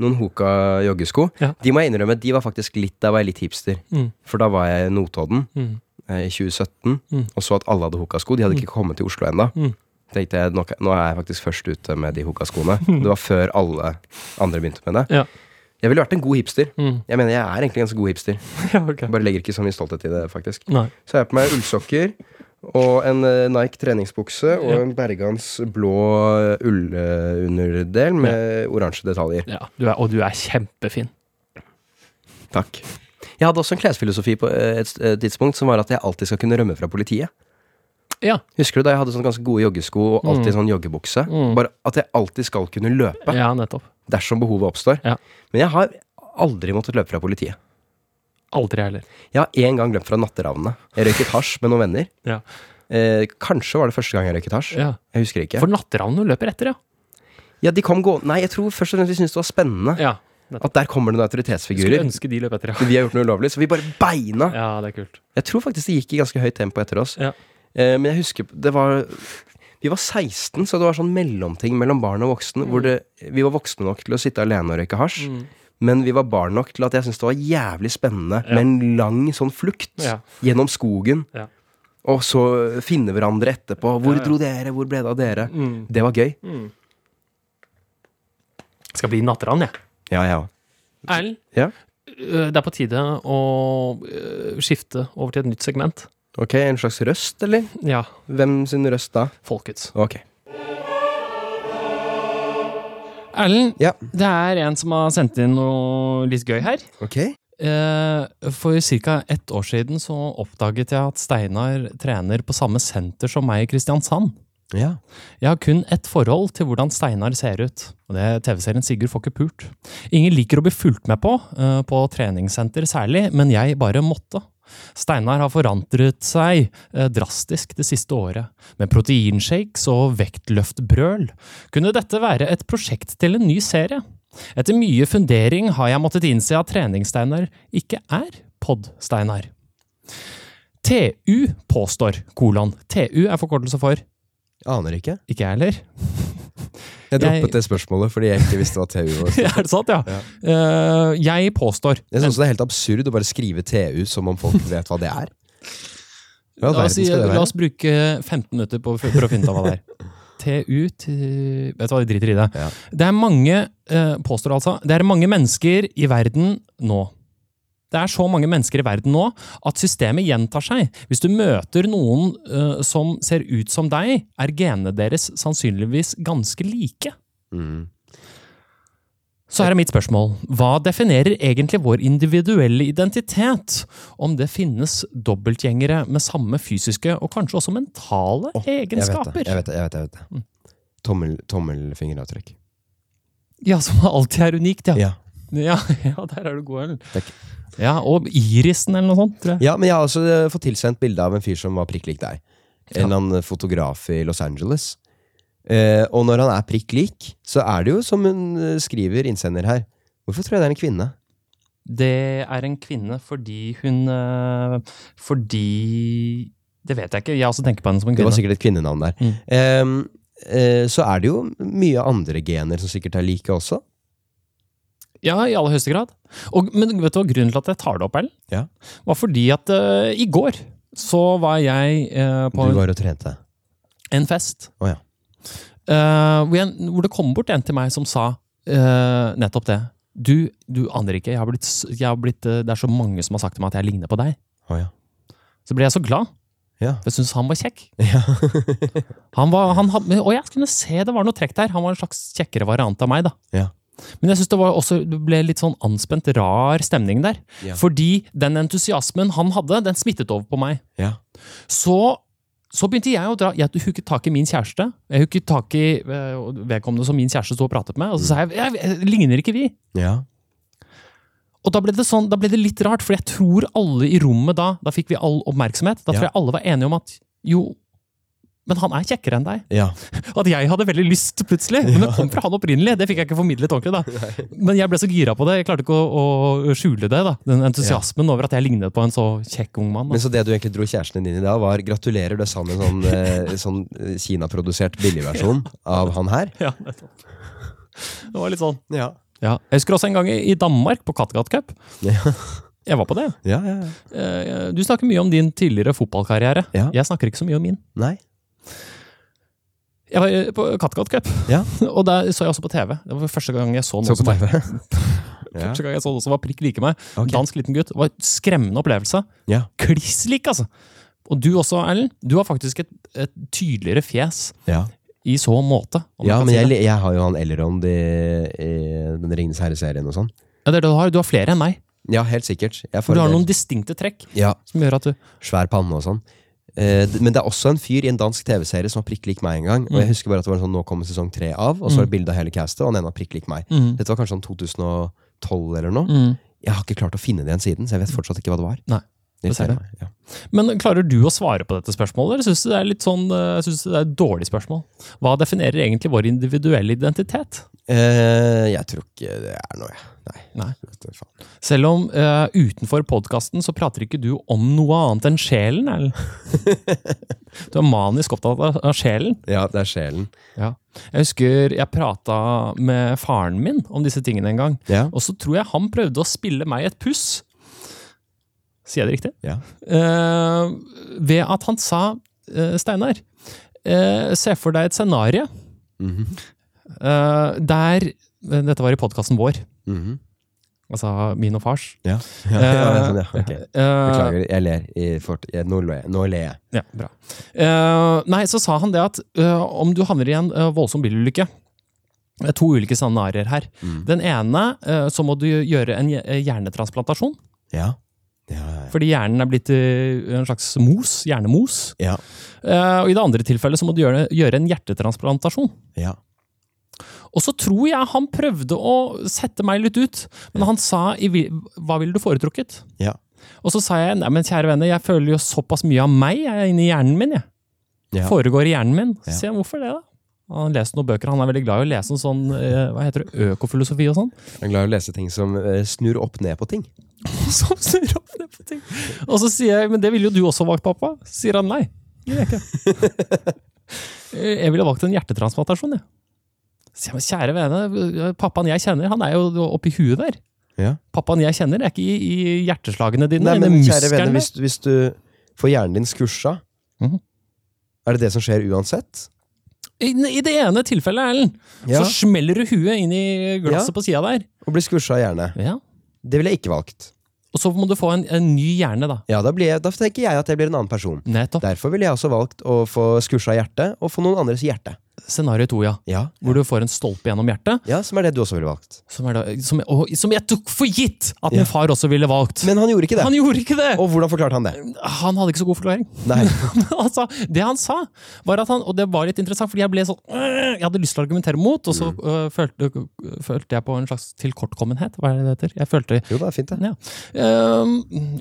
noen Hoka joggesko.
Ja.
De må jeg innrømme, de var faktisk litt, da var jeg litt hipster.
Mm.
For da var jeg i Notodden
Mm.
eh, i 2017
Mm.
og så at alle hadde Hoka-sko. De hadde ikke kommet til Oslo ennå.
Mm.
Tenkte jeg, nå, nå er jeg faktisk først ute med de Hoka-skoene. Det var før alle andre begynte med det.
Ja.
Jeg ville vært en god hipster.
Mm.
Jeg mener, jeg er egentlig en ganske god hipster.
ja, ok.
Jeg bare legger ikke så mye stolthet i det, faktisk.
Nei.
Så har jeg på meg ullsokker og en eh, Nike treningsbukse og
Ja.
en Bergans blå eh, ullunderdel med oransje detaljer.
Ja, du er, og du er kjempefin.
Takk. Jeg hadde også en klesfilosofi på eh, et eh, tidspunkt som var at jeg alltid skal kunne rømme fra politiet.
Ja.
Husker du da jeg hadde sånn ganske gode joggesko og alltid sånn joggebukse?
Mm.
Bare at jeg alltid skal kunne løpe
ja, nettopp.
dersom behovet oppstår.
Ja.
Men jeg har aldri måttet løpe fra politiet.
Aldri heller.
Jeg har én gang løpt fra natteravnene. Jeg røyket hasj med noen venner.
Ja.
Eh, kanskje var det første gang jeg røyket hasj.
Ja.
Jeg husker ikke.
For natteravnene løper etter, ja.
Ja, de kom gå... Nei, jeg tror først og fremst vi syntes det var spennende.
ja.
At der kommer det noen
Skulle
autoritetsfigurer.
ønske de løp etter, ja.
Vi har gjort noe ulovlig, så vi bare beina.
Ja, det er kult.
Jeg tror faktisk det gikk i ganske høyt tempo etter oss.
Ja.
Eh, men jeg husker det var Vi var 16, så det var sånn mellomting mellom barn og voksne.
Mm.
Hvor det, vi var voksne nok til å sitte alene og røyke hasj. Men vi var barn nok til at jeg syntes det var jævlig spennende
Ja.
med en lang sånn flukt
Ja.
gjennom skogen.
Ja.
Og så finne hverandre etterpå. Hvor
Ja, ja.
dro dere? Hvor ble det av dere? Det var gøy.
Skal bli natteravn, jeg.
Ja, jeg òg.
Erlend,
Ja.
øh, det er på tide å øh, skifte over til et nytt segment.
Ok, en slags røst, eller?
Ja,
Hvem sin røst da?
folkets.
Ok.
Erlend,
Ja.
det er en som har sendt inn noe litt gøy her.
Ok.
Eh, For ca. ett år siden så oppdaget jeg at Steinar trener på samme senter som meg i Kristiansand.
Ja.
Jeg har kun ett forhold til hvordan Steinar ser ut. og Det er TV-serien Sigurd får ikke pult. Ingen liker å bli fulgt med på, eh, på treningssenter særlig, men jeg bare måtte.
Steinar har forandret seg eh, drastisk det siste året. Med proteinshakes og vektløftbrøl kunne dette være et prosjekt til en ny serie. Etter mye fundering har jeg måttet innse at Treningssteinar ikke er Pod-Steinar. TU påstår, kolon. TU er forkortelse for
Aner ikke.
ikke jeg heller.
Jeg droppet
Jeg-
det spørsmålet fordi jeg ikke visste hva TU var.
er det sant, ja? Eh, jeg påstår
Jeg synes også det er helt absurd å bare skrive TU som om folk vet hva det er. Hva i all
La
verden
oss, si,
skal det
la
være?
oss bruke 15 minutter på, for å finne ut av hva det er. TU til, Vet du hva, de driter i det.
Ja.
Det er mange eh, påstår altså, det er mange mennesker i verden nå. Det er så mange mennesker i verden nå at systemet gjentar seg. Hvis du møter noen eh, som ser ut som deg, er genene deres sannsynligvis ganske like.
Mm.
Så her er mitt spørsmål. Hva definerer egentlig vår individuelle identitet? Om det finnes dobbeltgjengere med samme fysiske og kanskje også mentale
Jeg vet
egenskaper?
det. Jeg vet det, jeg vet det, jeg vet
Mm.
det. Tommel, tommelfingeravtrykk.
Ja, som alltid er unikt, ja.
Ja.
Ja, ja der er du god, Ellen.
Takk.
Ja, og irisen eller noe sånt, tror jeg.
ja, men jeg har også eh, fått tilsendt bilde av en fyr som var prikk lik deg. En eller annen fotograf i Los Angeles. Eh, og når han er prikk lik, så er det jo som hun eh, skriver innsender her. Hvorfor tror jeg det er en kvinne?
Det er en kvinne fordi hun øh, Fordi Det vet jeg ikke. Jeg også tenker på henne som en
Det var
kvinne. Mm.
sikkert et kvinnenavn der. Eh, eh, så er det jo mye andre gener som sikkert er like også.
Ja, i aller høyeste grad. Og, men vet du hva grunnen til at jeg tar det opp, Ellen?
Ja.
Var fordi at øh, i går så var jeg øh, på
Du var og trente.
en fest.
Å ja.
Eh, hvor, jeg, hvor det kom bort en til meg som sa eh, nettopp det. Du, du aner ikke, jeg har blitt, s- jeg har blitt, eh, det er så mange som har sagt til meg at jeg ligner på deg.
Å ja.
Så ble jeg så glad,
Ja.
for jeg syntes han var kjekk.
ja.
Han var, han hadde, og jeg kunne se det var noe trekk der. Han var en slags kjekkere variant av meg, da.
Ja.
Men jeg synes det var også det ble litt sånn anspent, rar stemning der.
Ja.
Fordi den entusiasmen han hadde, den smittet over på meg.
ja.
Så, så begynte jeg å dra Jeg hooket tak i min kjæreste. Jeg hooket tak i eh, vedkommende som min kjæreste sto og pratet med. Og så sa jeg, jeg, jeg ligner ikke vi.
ja.
Og da ble, det sånn, da ble det litt rart, for jeg tror alle i rommet da Da fikk vi all oppmerksomhet. Da tror
Ja.
jeg alle var enige om at jo, men han er kjekkere enn deg.
ja.
At jeg hadde veldig lyst, plutselig. Men det kom fra han opprinnelig. Det fikk jeg ikke formidlet ordentlig. da. Men jeg ble så gira på det. Jeg klarte ikke å, å skjule det. da. Den entusiasmen over at jeg lignet på en så kjekk ung mann. da.
Men så det du egentlig dro kjæresten din i da, var gratulerer, du er sammen med sånn, eh, sånn eh, Kina-produsert billigversjon av han her.
Ja, nettopp. Det var litt sånn
Ja.
Ja. Jeg husker også en gang i Danmark, på Kattegat Cup.
Ja.
Jeg var på det.
Ja, ja,
Eh, Du snakker mye om din tidligere fotballkarriere.
Ja.
Jeg snakker ikke så mye om min.
Nei.
Jeg var eh, på Kattegat Cup,
Ja.
og der så jeg også på TV. Det var første gang jeg så
Så
noen
på
som, var-
TV. Ja.
første gang jeg så noen som var prikk like meg.
Ok.
Dansk liten gutt. Det var en skremmende opplevelse.
Ja.
Kliss lik, altså! Og du også, Erlend. Du har faktisk et, et tydeligere fjes
Ja.
i så måte. om
ja,
man kan
men
si
jeg,
det.
li- jeg har jo han Elrond i, i den Ringenes herre-serien og sånn.
ja, det er det du har. Du har flere enn meg.
Ja, helt sikkert. Jeg får
Du har
en del-
noen distinkte trekk
ja,
som gjør at du
svær panne og sånn. Eh, d- Men det er også en fyr i en dansk TV-serie som var prikk lik meg en gang. Og jeg
Mm.
husker bare at det var en sånn 'Nå kommer sesong tre av', og så var det bilde av hele castet, og han ene var prikk lik meg.
Mm.
Dette var kanskje sånn 2012 eller noe.
Mm.
Jeg har ikke klart å finne det igjen siden, så jeg vet fortsatt ikke hva det var.
Nei.
Det
Det ser
irriterer
jeg.
meg, ja.
Men klarer du å svare på dette spørsmålet, eller syns du det er litt sånn, eh, synes du det er et dårlig spørsmål? Hva definerer egentlig vår individuelle identitet?
Eh, jeg tror ikke det er noe, jeg. Nei.
Nei.
Vet du faen.
Selv om eh, utenfor podkasten så prater ikke du om noe annet enn sjelen, eller? Du er manisk opptatt av, av sjelen.
Ja, det er sjelen.
Jeg husker jeg prata med faren min om disse tingene en gang,
Ja.
og så tror jeg han prøvde å spille meg et puss. Sier jeg det riktig?
Ja.
eh, ved at han sa eh, Steinar, eh, se for deg et scenario
Mhm.
eh, der Dette var i podkasten vår,
Mhm.
altså min og fars. Eh,
ja. ja, ja, sånn, ja. Ok.
Beklager.
Beklager, jeg ler. I fort... jeg, nå ler jeg. Nå ler jeg.
ja, bra. Eh, nei, så sa han det at eh, om du havner i en eh, voldsom bilulykke det er To ulike scenarioer her. Den ene, eh, så må du gjøre en hje- hjernetransplantasjon.
Ja. Ja, ja, ja.
Fordi hjernen er blitt eh, en slags mos. Hjernemos.
ja.
Eh, og i det andre tilfellet så må du gjøre, gjøre en hjertetransplantasjon.
ja.
Og så tror jeg han prøvde å sette meg litt ut, men han sa i, vil- hva ville du foretrukket?
Ja.
Og så sa jeg nei, men kjære venner, jeg føler jo såpass mye av meg jeg er inni hjernen min. Jeg.
Ja.
Foregår i hjernen min. Så
Ja.
sier jeg hvorfor det, da? Og Han leser noen bøker, han er veldig glad i å lese en sånn eh, hva heter det, økofilosofi og sånn.
Jeg er glad i å lese ting som eh, snur opp ned på ting.
Som snurrer opp ned på ting. Og så sier jeg men det ville jo du også valgt, pappa. Så sier han nei. Det vil jeg ikke. Eh, jeg ville valgt en hjertetransplantasjon, jeg. Så sier jeg, men kjære vene, eh, pappaen jeg kjenner, han er jo oppi huet der.
Ja.
Pappaen jeg kjenner, er ikke i, i hjerteslagene dine.
Nei,
i
men
de
kjære
musklene.
venner, hvis, hvis du får hjernen din skursa,
Mhm.
er det det som skjer uansett?
I, I det ene tilfellet, Erlend,
Ja.
så smeller du huet inn i glasset
Ja.
på sida der.
Å bli skursa av hjerne. Det ville jeg ikke valgt.
Og så må du få en, en ny hjerne, da.
Ja, da, blir jeg, da tenker jeg at jeg blir en annen person.
Nettopp.
Derfor ville jeg også valgt å få skursa hjertet, og få noen andres hjerte.
Scenario to, ja.
Ja.
Hvor du får en stolpe gjennom hjertet,
ja, som er det du også ville valgt.
som, er da, som, og, som jeg tok for gitt at
Ja.
min far også ville valgt.
Men han gjorde ikke det.
han gjorde ikke det!
Og hvordan forklarte han det?
han hadde ikke så god forklaring.
Nei.
altså, det han sa, var at han Og det var litt interessant, fordi jeg ble sånn øh, Jeg hadde lyst til å argumentere mot, og så
Mm.
øh, følte, følte jeg på en slags tilkortkommenhet. Hva er det det heter? Jeg følte
Jo, det er fint, det.
ja. Øhm,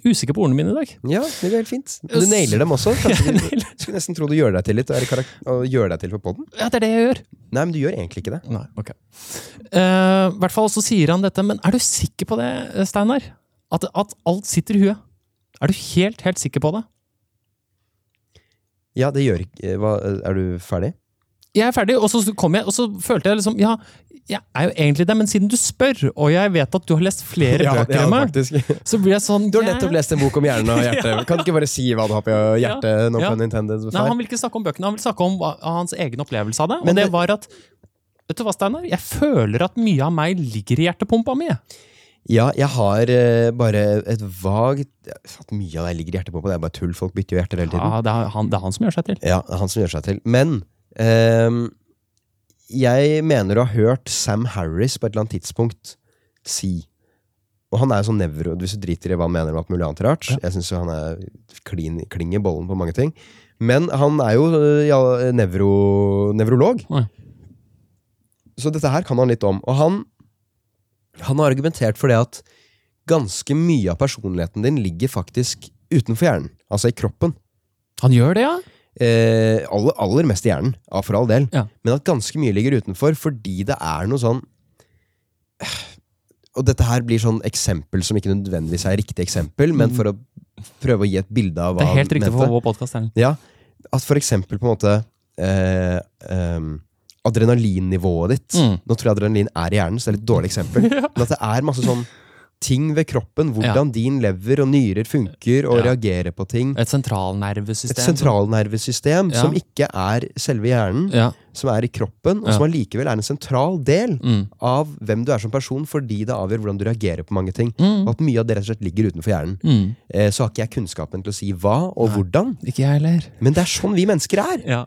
usikker på ordene mine i dag.
Ja, det går helt fint. Du nailer dem også. Kanskje du skulle nesten tro du gjør deg til litt, og, er i karak- og gjør deg til for podden.
Ja, det er det jeg gjør.
Nei, men du gjør egentlig ikke det.
Nei, ok. Eh, I hvert fall så sier han dette, men er du sikker på det, Steinar? At, at alt sitter i huet? Er du helt, helt sikker på det?
Ja, det gjør ikke hva, Er du ferdig?
Jeg er ferdig, og så kom jeg, og så følte jeg liksom Ja, jeg er jo egentlig det, men siden du spør, og jeg vet at du har lest flere bøker enn meg,
faktisk.
så blir jeg sånn
Du har
ja.
nettopp lest en bok om hjernen og hjertet. Kan du ikke bare si hva du har på hjertet? nå
Ja.
på Nintendo,
Nei, han vil ikke snakke om bøkene, han vil snakke om hva- hans egen opplevelse av det.
Men
Og det
det-
var at Vet du hva, Steinar? Jeg føler at mye av meg ligger i hjertepumpa mi. jeg.
Ja, jeg har eh, bare et vagt At mye av det ligger i hjertet på, det er bare tull. Folk bytter jo hjerter hele tiden.
Ja, det, er han, det er han som gjør seg til.
Ja, det er han som gjør seg til. Men ehm, jeg mener å ha hørt Sam Harris på et eller annet tidspunkt si Og han er sånn nevro Hvis du driter i hva han mener om alt mulig annet rart Jeg syns han er klin, kling i bollen på mange ting. Men han er jo øh, ja, nevro, nevrolog.
Ja.
Så dette her kan han litt om. Og han, han har argumentert for det at ganske mye av personligheten din ligger faktisk utenfor hjernen. Altså i kroppen
Han gjør det, ja?
eh, aller, aller mest i hjernen, ja, for all del,
Ja.
men at ganske mye ligger utenfor fordi det er noe sånn Og dette her blir sånn eksempel som ikke nødvendigvis er riktig eksempel, men for å prøve å gi et bilde av hva
Mm. Det er helt
han
riktig
mente.
for vår podkast.
Ja, at for eksempel på en måte eh, ehm, Adrenalinnivået ditt
Mm.
Nå tror jeg adrenalin er i hjernen, så det er litt dårlig eksempel. Men at det er masse sånn ting ved kroppen. Hvordan din lever og nyrer funker og
Ja.
reagerer på ting.
Et
Et
sentralnervesystem.
sentralnervesystem
Ja.
som ikke er selve hjernen,
ja.
som er i kroppen, og
Ja.
som allikevel er en sentral del
mm.
av hvem du er som person, fordi det avgjør hvordan du reagerer på mange ting. Og
Mm.
at mye av det rett og slett ligger utenfor hjernen.
Mm.
Eh, så har ikke jeg kunnskapen til å si hva og
Nei.
hvordan,
Ikke jeg heller.
men det er sånn vi mennesker er.
Ja.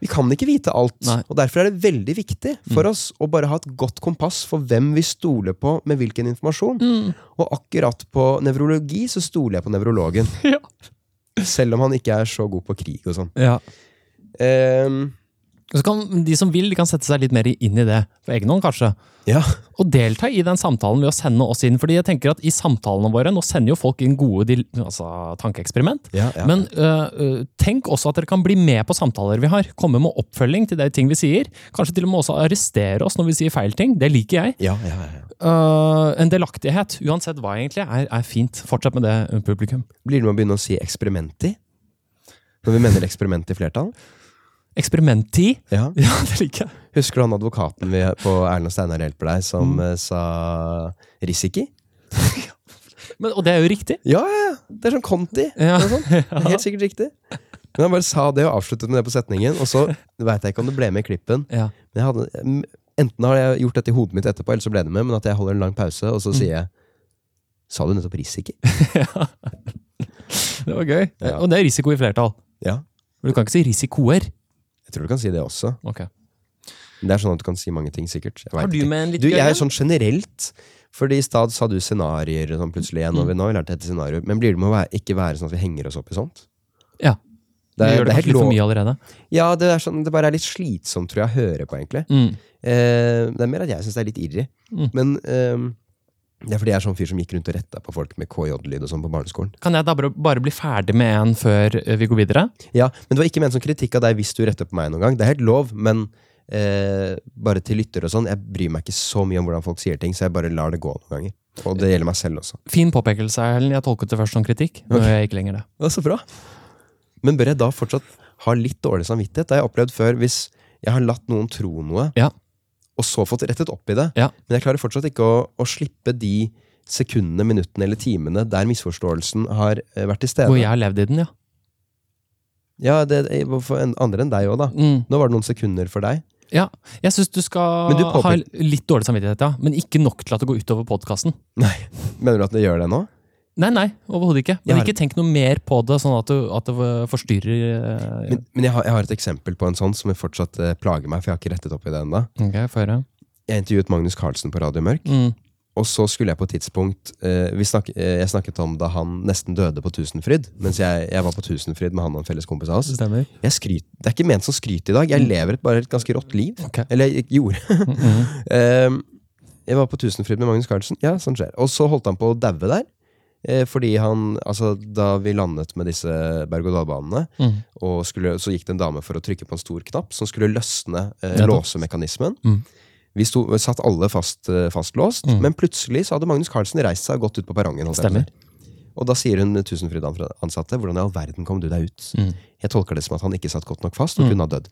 Vi kan ikke vite alt.
Nei. Mhm.
Og derfor er det veldig viktig for oss å bare ha et godt kompass for hvem vi stoler på med hvilken informasjon.
Mhm.
Og akkurat på nevrologi så stoler jeg på nevrologen.
Ja.
Selv om han ikke er så god på krig og sånn.
ja.
Ehm,
Så kan De som vil, de kan sette seg litt mer inn i det på egen hånd, kanskje.
ja.
Og delta i den samtalen ved å sende oss inn. Fordi jeg tenker at i samtalene våre Nå sender jo folk inn gode dil- altså, tankeeksperiment.
Ja, ja.
Men øh, øh, tenk også at dere kan bli med på samtaler vi har. Komme med oppfølging til de ting vi sier. Kanskje til og med også arrestere oss når vi sier feil ting. Det liker jeg.
ja, ja, ja, ja.
Øh, en delaktighet, uansett hva egentlig, er, er fint. Fortsett med det, øh, publikum.
Blir det med å begynne å si eksperimenti? Når vi mener eksperiment i flertall?
Eksperimenti.
Ja.
Ja, det liker jeg.
Husker du han advokaten vi på Erlend og Steinar hjelper deg, som eh, sa risiki?
Men, og det er jo riktig.
Ja, ja, ja! Det er sånn Conti.
Ja.
eller noe sånt. Det er helt sikkert riktig. Men han bare sa det og avsluttet med det på setningen, og så veit jeg ikke om det ble med i klippen.
Ja.
Men jeg hadde, mm, enten har jeg gjort dette i hodet mitt etterpå, eller så ble det med, men at jeg holder en lang pause, og så sier jeg Sa du nettopp risiki?
Det var gøy.
Ja.
Og det er risiko i flertall.
Ja.
Men du kan ikke si risikoer.
Jeg tror du kan si det også.
Ok.
Men Det er sånn at du kan si mange ting, sikkert. Jeg vet
Har du
ikke.
med en litt
Du,
gøy
jeg er
en?
sånn generelt Fordi i stad sa du scenarier sånn plutselig igjen,
Mm.
og vi nå har vi lært dette scenario. Men blir det med å være, ikke være sånn at vi henger oss opp i sånt?
Ja.
Det
Vi
er, det er
gjør det kanskje
helt
litt
lov.
for mye allerede.
Ja, det, er sånn, det bare er litt slitsomt, tror jeg, å høre på, egentlig.
Mm.
Eh, det er mer at jeg syns det er litt irri.
Mm.
Men ehm, Det er fordi jeg er sånn fyr som gikk rundt og retta på folk med KJ-lyd og sånn på barneskolen.
Kan jeg da bare- bare bli ferdig med en før eh, vi går videre?
Ja, Men det var ikke ment som kritikk av deg hvis du retter på meg noen gang. Det er helt lov, men eh, bare til lyttere og sånn. Jeg bryr meg ikke så mye om hvordan folk sier ting, så jeg bare lar det gå noen ganger. Og det gjelder meg selv også.
Fin påpekelse, Erlend. Jeg tolket det først som kritikk. Nå gjør jeg ikke lenger det.
Det var så bra. Men bør jeg da fortsatt ha litt dårlig samvittighet? Det har jeg opplevd før. Hvis jeg har latt noen tro noe,
Ja.
og så fått rettet opp i det,
Ja.
men jeg klarer fortsatt ikke å, å slippe de sekundene, minuttene eller timene der misforståelsen har eh, vært til
Hvor
stede.
jeg har levd i den, ja.
Ja, det, eh, for en- andre enn deg òg, da.
Mm.
Nå var det noen sekunder for deg.
Jeg syns du skal
Men du
ha
påpek-
litt dårlig samvittighet, ja. Men ikke nok til at det går utover podkasten.
Mener du at det gjør det nå?
Nei, nei, overhodet ikke.
Jeg
Men
har-
ikke tenk noe mer på det, sånn at, du, at det forstyrrer eh,
Men, men jeg, har, jeg har et eksempel på en sånn som jeg fortsatt eh, plager meg, for jeg har ikke rettet opp i det ennå.
Ok, få høre.
Jeg intervjuet Magnus Carlsen på Radio Mørk.
Mm.
Og så skulle jeg på et tidspunkt eh, vi snakk, eh, Jeg snakket om da han nesten døde på Tusenfryd. Mens jeg, jeg var på Tusenfryd med han og en felles kompis av oss.
Stemmer.
Jeg skryt, det er ikke ment som skryt i dag. Jeg lever et, bare et ganske rått liv.
Ok.
Eller jeg gjorde. Eh, jeg var på Tusenfryd med Magnus Carlsen. Ja, sånn skjer. Og så holdt han på å daue der. eh, Fordi han, altså Da vi landet med disse berg-og-dal-banene,
Mm.
og skulle, så gikk det en dame for å trykke på en stor knapp som skulle løsne eh,
Nettopp.
låsemekanismen.
Mm.
Vi sto, satt alle fast, eh, fastlåst,
Mm.
men plutselig så hadde Magnus Carlsen reist seg og gått ut på perrongen. holdt jeg på å
Stemmer.
si. Og da sier hun Tusenfryd-ansatte hvordan i all verden kom du deg ut?
Mm.
Jeg tolker det som at han ikke satt godt nok fast og kunne ha dødd.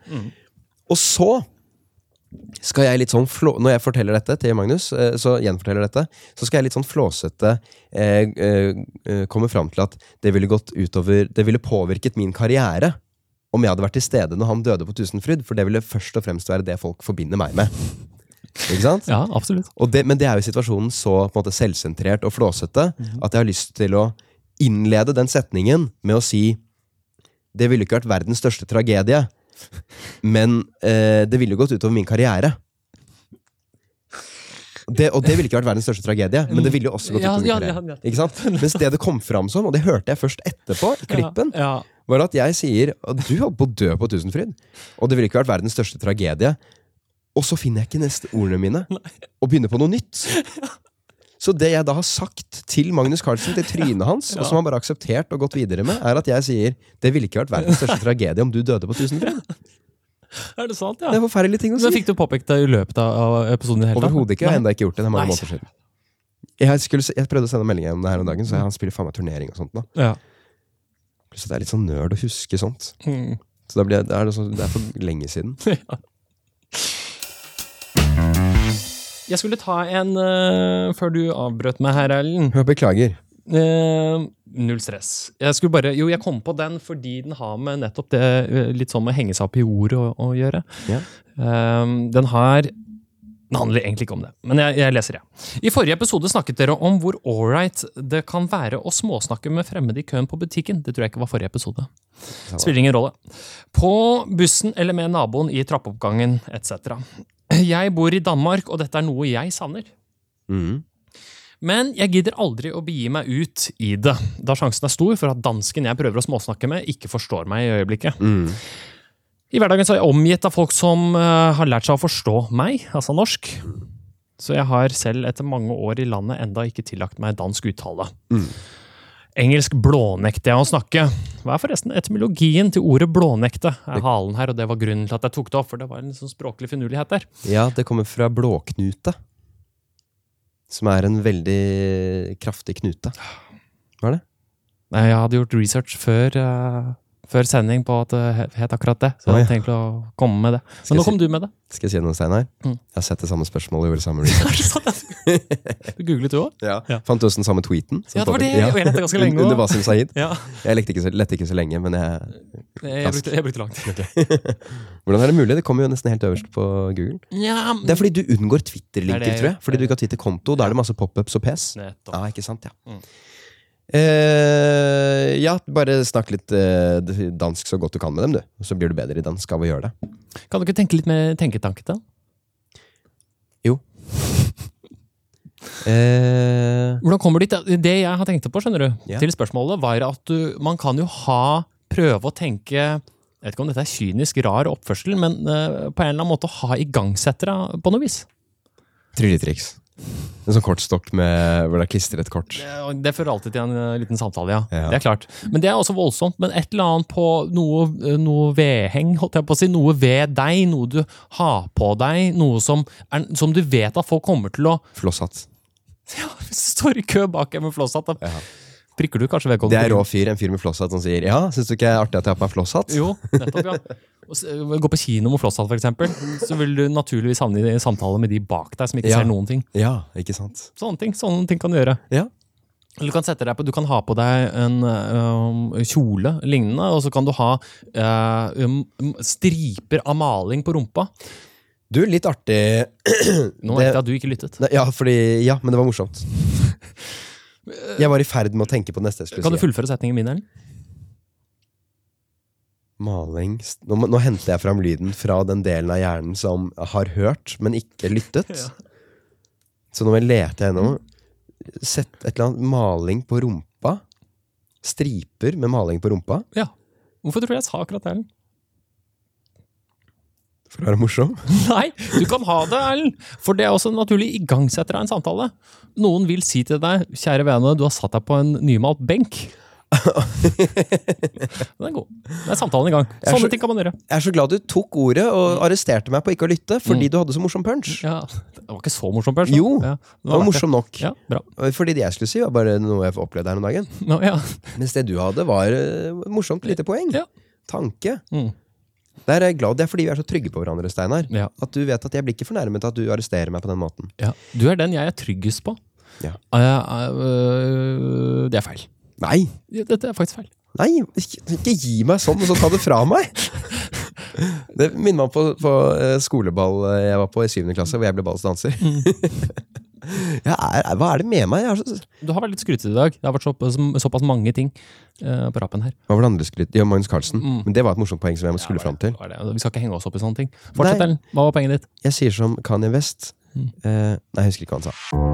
Og så skal jeg litt sånn flå... Når jeg forteller dette til Magnus, eh, så gjenforteller dette, så skal jeg litt sånn flåsete eh, eh, eh, komme fram til at det ville gått utover Det ville påvirket min karriere om jeg hadde vært til stede når han døde på Tusenfryd, for det ville først og fremst være det folk forbinder meg med. Ikke sant?
Ja, absolutt.
Og det, men det er jo situasjonen så på en måte selvsentrert og flåsete
Mhm.
at jeg har lyst til å innlede den setningen med å si Det ville ikke vært verdens største tragedie, men eh, det ville jo gått utover min karriere. Det, og det ville ikke vært verdens største tragedie, men det ville jo også gått
Mm. Ja,
utover min
ja,
karriere.
ja, ja.
Ikke sant? Mens det det kom fram som, og det hørte jeg først etterpå, i klippen,
Ja.
var at jeg sier at du holdt på å dø på Tusenfryd. Og det ville ikke vært verdens største tragedie. Og så finner jeg ikke neste ordene mine, og begynner på noe nytt. Så det jeg da har sagt til Magnus Carlsen, til trynet hans, og som han bare har akseptert og gått videre med, er at jeg sier det ville ikke vært verdens største tragedie om du døde på Tusenfryd.
Er det sant,
Det
ja?
er forferdelige ting å
Men
si.
fikk du påpekt det i løpet av av episoden? i det hele tatt?
Overhodet ikke. Jeg har
Nei.
ennå ikke gjort det. Det er mange
Nei.
måneder siden. Jeg, skulle, se- jeg prøvde å sende melding om det her om dagen, så han spiller faen meg turnering og sånt nå.
Ja.
Så det er litt sånn nerd å huske sånt.
Mm.
Så da blir jeg, det, er det, sånn, det er for lenge siden.
Jeg skulle ta en eh, før du avbrøt meg her, Erlend.
Jeg beklager.
Eh, null stress. Jeg skulle bare, jo, jeg kom på den fordi den har med nettopp det eh, litt sånn med å henge seg opp i ord å, å gjøre.
Ja.
Eh, den har Den handler egentlig ikke om det, men jeg, jeg leser, jeg. I forrige episode snakket dere om hvor ålreit det kan være å småsnakke med fremmede i køen på butikken. Det tror jeg ikke var forrige episode. Spiller ingen rolle. På bussen eller med naboen i trappeoppgangen etc. Jeg bor i Danmark, og dette er noe jeg savner. Mm.
Mhm.
Men jeg gidder aldri å begi meg ut i det, da sjansen er stor for at dansken jeg prøver å småsnakke med, ikke forstår meg i øyeblikket.
Mhm.
I hverdagen så er jeg omgitt av folk som eh, har lært seg å forstå meg, altså norsk. Så jeg har selv etter mange år i landet enda ikke tillagt meg dansk uttale.
Mm.
Engelsk blånekter jeg å snakke. Hva er forresten etymologien til ordet blånekte? Er halen her, og det var grunnen til at jeg tok det opp, for det var en sånn språklig finurlighet der.
Ja, det kommer fra blåknute. Som er en veldig kraftig knute.
Nei, jeg hadde gjort research før, eh, før sending på at det he- het akkurat det. Så jeg hadde tenkt å komme med det.
Skal
Men
jeg
nå kom du med det.
Skal jeg si noe, Steinar?
Mm.
Jeg har sett det samme spørsmålet. Gjorde det samme research.
Du googlet du òg? Ja.
Fant du også den samme tweeten? som
Ja, det var
påpeker-
det. Og jeg lette ganske lenge
Un- Under
også.
Wasim Saeed.
Ja,
Jeg lekte ikke så, lette ikke så lenge, men jeg,
jeg brukte, jeg brukte lang tid.
hvordan er det mulig? Det kommer jo nesten helt øverst på Google.
Ja,
Det er fordi du unngår Twitter-linker,
Det er det jeg
tror jeg.
gjør.
Fordi du ikke har Twitter-konto. Da er det masse pop-ups og pes.
nettopp.
Ja, ikke sant, ja.
Mm.
Eh, ja, bare snakk litt eh, dansk så godt du kan med dem, du. Så blir du bedre i dansk av å gjøre det.
Kan du ikke tenke litt mer tenketanke til?
Eh,
Hvordan kommer du dit? Det jeg har tenkt på, skjønner du,
Ja.
til spørsmålet, var at du, man kan jo ha prøve å tenke jeg vet ikke om dette er kynisk, rar oppførsel, men eh, på en eller annen måte ha igangsettere på noe vis.
Trylletriks. En sånn kortstokk med, hvor det er klistret et kort.
Det- Eh, Det fører alltid til en eh, liten samtale, ja.
Ja.
Det er klart. Men det er også voldsomt. Men et eller annet på noe, eh, noe vedheng, holdt jeg på å si. Noe ved deg, noe du har på deg. Noe som, er, som du vet at folk kommer til å
Flosshatt.
ja, Hvis du står i kø bak en med flosshatt, da
Ja.
prikker du kanskje
Det
vedkommende.
er rå fyr, en fyr med flosshatt som sier 'ja, syns du ikke det er artig at jeg har på meg flosshatt'?
Jo, nettopp, ja. Og s- eh, Gå på kino med flosshatt, for eksempel. Så vil du naturligvis havne i samtale med de bak deg som ikke
Ja.
ser noen ting.
Ja, ikke sant?
Sånne ting, sånne ting kan du gjøre.
Ja.
Eller Du kan sette deg på, du kan ha på deg en øhm, kjole lignende, og så kan du ha øh, um, striper av maling på rumpa.
Du, litt artig
Nå
Det-
vet jeg at du ikke lyttet.
Nei, Ja, fordi Ja, men det var morsomt. Jeg var i ferd med å tenke på det neste jeg skulle
Kan du
si.
fullføre setningen min, Ellen?
Maling st- nå, må- nå henter jeg fram lyden fra den delen av hjernen som har hørt, men ikke lyttet.
Ja.
Så nå må jeg lete gjennom. Sett et eller annet maling på rumpa. Striper med maling på rumpa.
Ja. Hvorfor tror du jeg sa akkurat det, Erlend?
For å være morsom.
Nei, du kan ha det, Erlend! For det er også en naturlig igangsetter av en samtale. Noen vil si til deg, kjære vene, du har satt deg på en nymalt benk. Den er god. Da er samtalen i gang.
er så-
Sånne ting kan man gjøre.
Jeg er så glad du tok ordet og arresterte meg på ikke å lytte, fordi du hadde så morsom punch.
Mm. Ja, det var ikke så morsomt, Bjørn.
Jo,
ja,
Det var
verdt det.
morsom nok.
Ja, bra.
Fordi det jeg skulle si, var bare noe jeg opplevde her om dagen.
Nå, ja.
Mens det du hadde, var eh, morsomt lite poeng.
Ja.
Tanke.
Mm.
Der er jeg glad det er fordi vi er så trygge på hverandre, Steinar.
Ja.
At du vet at jeg blir ikke fornærmet av at du arresterer meg på den måten.
Ja. Du er den jeg er tryggest på.
Ja.
Eh, eh, det er feil.
Nei!
Ja, Dette er faktisk feil.
Nei, ikke ikke gi meg sånn, og så ta det fra meg! Det minner meg om på, på eh, skoleball eh, jeg var på i syvende klasse, hvor jeg ble ballets danser. Jeg er, hva er det med meg? Jeg er så,
Du har vært litt skrytete i dag. Det har vært såpass, såpass mange ting eh, på rappen her.
hva var det andre skryt? Ja, Magnus Carlsen.
Mm.
Men det var et morsomt poeng som jeg skulle
Ja,
fram
det
til.
var det. Vi skal ikke henge oss opp i sånne ting. Fortsett,
Nei.
Ellen. Hva var poenget ditt?
Jeg sier som Kanye West
Mm.
eh, Nei, jeg husker ikke hva han sa.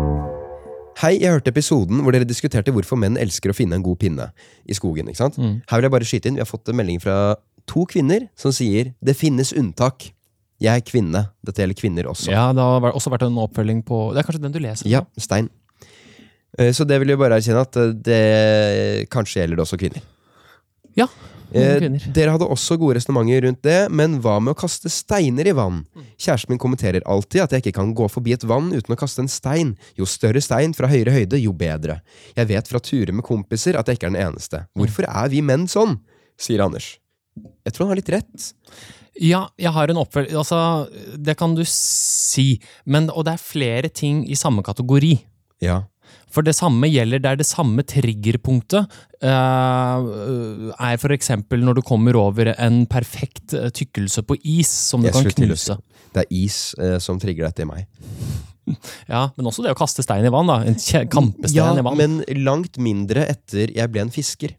Hei, jeg hørte episoden hvor dere diskuterte hvorfor menn elsker å finne en god pinne i skogen. ikke sant?
Mm.
Her vil jeg bare skyte inn, Vi har fått en melding fra to kvinner som sier 'det finnes unntak'. Jeg er kvinne. Dette gjelder kvinner også.
Ja, det har vært- også vært en oppfølging på Det er kanskje den du leser?
Ja, Stein. Eh, Så det vil jeg bare erkjenne at eh, det kanskje gjelder det også kvinner.
Ja,
Eh,
kvinner.
Dere hadde også gode resonnementer rundt det, men hva med å kaste steiner i vann?
Mm.
Kjæresten min kommenterer alltid at jeg ikke kan gå forbi et vann uten å kaste en stein. Jo større stein fra høyere høyde, jo bedre. Jeg vet fra turer med kompiser at jeg ikke er den eneste.
Mm.
Hvorfor er vi menn sånn? sier Anders. Jeg tror han har litt rett.
Ja, jeg har en oppfølging Altså, det kan du si. Men, og det er flere ting i samme kategori.
Ja.
For det samme gjelder der det samme triggerpunktet eh, er for eksempel når du kommer over en perfekt eh, tykkelse på is som du
Jeg
kan
slutter å
knuse.
Det er is eh, som trigger dette i meg.
Ja, men også det å kaste stein i vann, da. En kje-
Ja,
kampestein i vann.
men langt mindre etter jeg ble en fisker.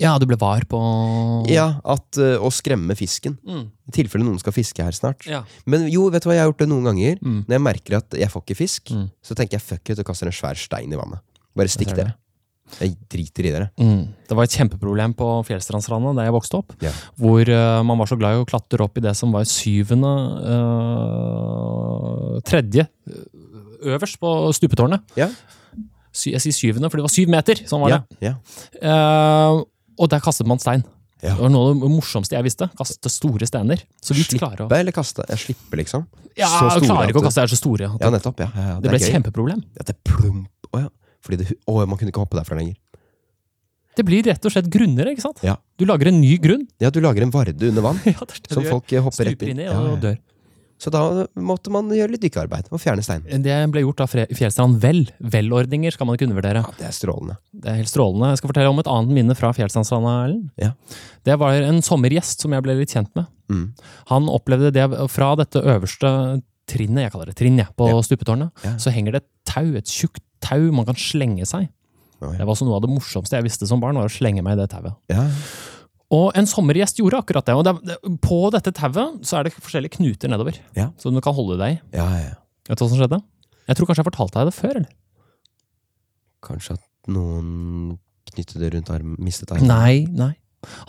Ja, du ble var på
Ja, at eh, Å skremme fisken.
Mm,
I tilfelle noen skal fiske her snart.
ja.
Men jo, vet du hva, jeg har gjort det noen ganger.
Mm.
Når jeg merker at jeg får ikke fisk,
Mm.
så tenker jeg fuck it og kaster en svær stein i vannet. Bare stikk
ser det.
dere. Jeg driter i dere.
Mm. Det var et kjempeproblem på Fjellstrandsranda der jeg vokste opp.
Ja.
Hvor eh, man var så glad i å klatre opp i det som var syvende eh, Tredje eh, øverst på stupetårnet.
Ja.
Sy, jeg sier syvende, for det var syv meter. Sånn var
Ja,
det.
ja.
Eh, og der kastet man stein.
Ja.
Det var noe av det morsomste jeg visste. Kaste store steiner. Så vidt klarer å
Slippe eller kaste? Jeg slipper, liksom.
ja,
så store
klarer ikke
at
å kaste, de er så store. at
Ja, nettopp. Ja, ja, ja.
det ble et
er gøy.
kjempeproblem.
At det plump. Å ja. Fordi det, å, man kunne ikke hoppe derfra lenger.
Det blir rett og slett grunner, ikke sant?
Ja.
Du lager en ny grunn.
Ja, du lager en varde under vann
Ja, det er det
som
du gjør.
folk eh, hopper rett
stuper
inn
inn
Ja,
i
ja,
og
ja.
dør.
Så da måtte man gjøre litt dykkearbeid og fjerne stein.
Det ble gjort av Fre- Fjellstrand Vel. Vel-ordninger skal man ikke undervurdere.
Ja, det er strålende.
Det er helt strålende. Jeg skal fortelle om et annet minne fra Fjellstrandstranda, Erlend.
Ja.
Det var en sommergjest som jeg ble litt kjent med.
Mm.
Han opplevde det fra dette øverste trinnet, jeg kaller det trinn, jeg, på
Ja.
stupetårnet.
Ja.
Så henger det et tau, et tjukt tau man kan slenge seg.
Oi.
Det var også noe av det morsomste jeg visste som barn, var å slenge meg i det tauet.
Ja.
Og en sommergjest gjorde akkurat det. Og det, det, på dette tauet så er det forskjellige knuter nedover,
Ja.
som du kan holde deg i.
ja, ja.
Vet du hva som skjedde? Jeg tror kanskje jeg fortalte deg det før, eller?
Kanskje at noen knyttet det rundt armen, mistet armen.
Nei, nei.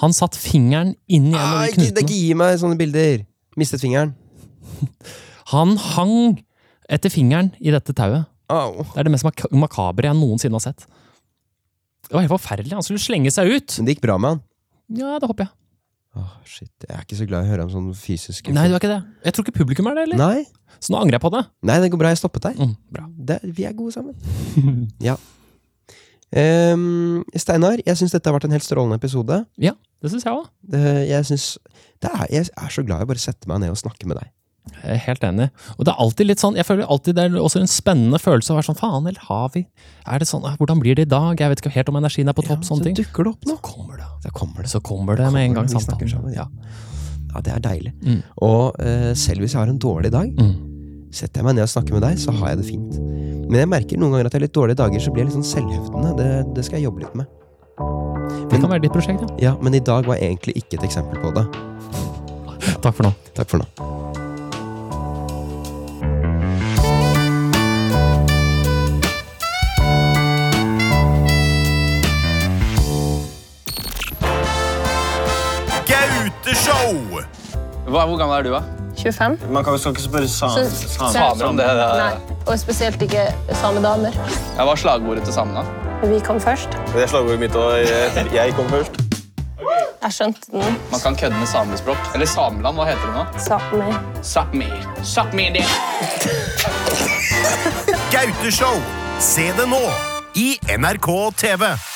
Han satt fingeren inn i en
Nei,
av de
Ah, ikke, det
knutene.
ikke gi meg sånne bilder! Mistet fingeren.
Han hang etter fingeren i dette tauet.
Au.
Det er det mest mak makabre jeg noensinne har sett. Det var helt forferdelig. Han skulle slenge seg ut.
Men det gikk bra med han.
Ja, det håper jeg.
Åh, shit, Jeg er ikke så glad i å høre om sånne fysiske
Nei, det var ikke det. Jeg tror ikke publikum er det, eller?
Nei.
Så nå angrer jeg på det.
Nei, det går bra. Jeg stoppet deg.
Mm, bra.
det, vi er gode sammen. ja. Ehm, Steinar, jeg syns dette har vært en helt strålende episode.
Det syns jeg òg.
Det, jeg, synes, det er, jeg er så glad jeg bare setter meg ned og snakker med deg.
Jeg er helt enig. Og det er alltid litt sånn, jeg føler alltid det er også en spennende følelse å være sånn faen, eller har vi Er det sånn, eh, Hvordan blir det i dag? Jeg vet ikke helt om energien er på topp, sånne ting.
dukker det opp
Så kommer det.
Da kommer det.
Så kommer det med en gang
Kommer det, vi snakker sammen,
samtalen. Ja.
Ja, det er deilig.
Mm.
Og eh, selv hvis jeg har en dårlig dag,
Mm.
setter jeg meg ned og snakker med deg, så har jeg det fint. Men jeg merker noen ganger at jeg har litt dårlige dager, så blir jeg litt sånn selvhevdende. Det, det skal jeg jobbe litt med.
Det kan være ditt prosjekt, ja.
Ja, Men i dag var egentlig ikke et eksempel på det.
Takk for nå.
Takk for nå.
Gauteshow!
Hva, hvor gammel er du, da?
25.
Man kan jo skal ikke spørre
Så-
sam-
så-
Samer om det. det er-
Nei, og spesielt ikke samedamer.
Ja, Hva er slagordet til samene? da?
Vi kom først.
Det er slagordet mitt òg. Jeg kom først.
Jeg skjønte den.
Man kan kødde med samespråk. Eller Sameland, hva heter det nå?
Samer.
Sápmi. Sápmi det.
Gauteshow! Se det nå i NRK TV.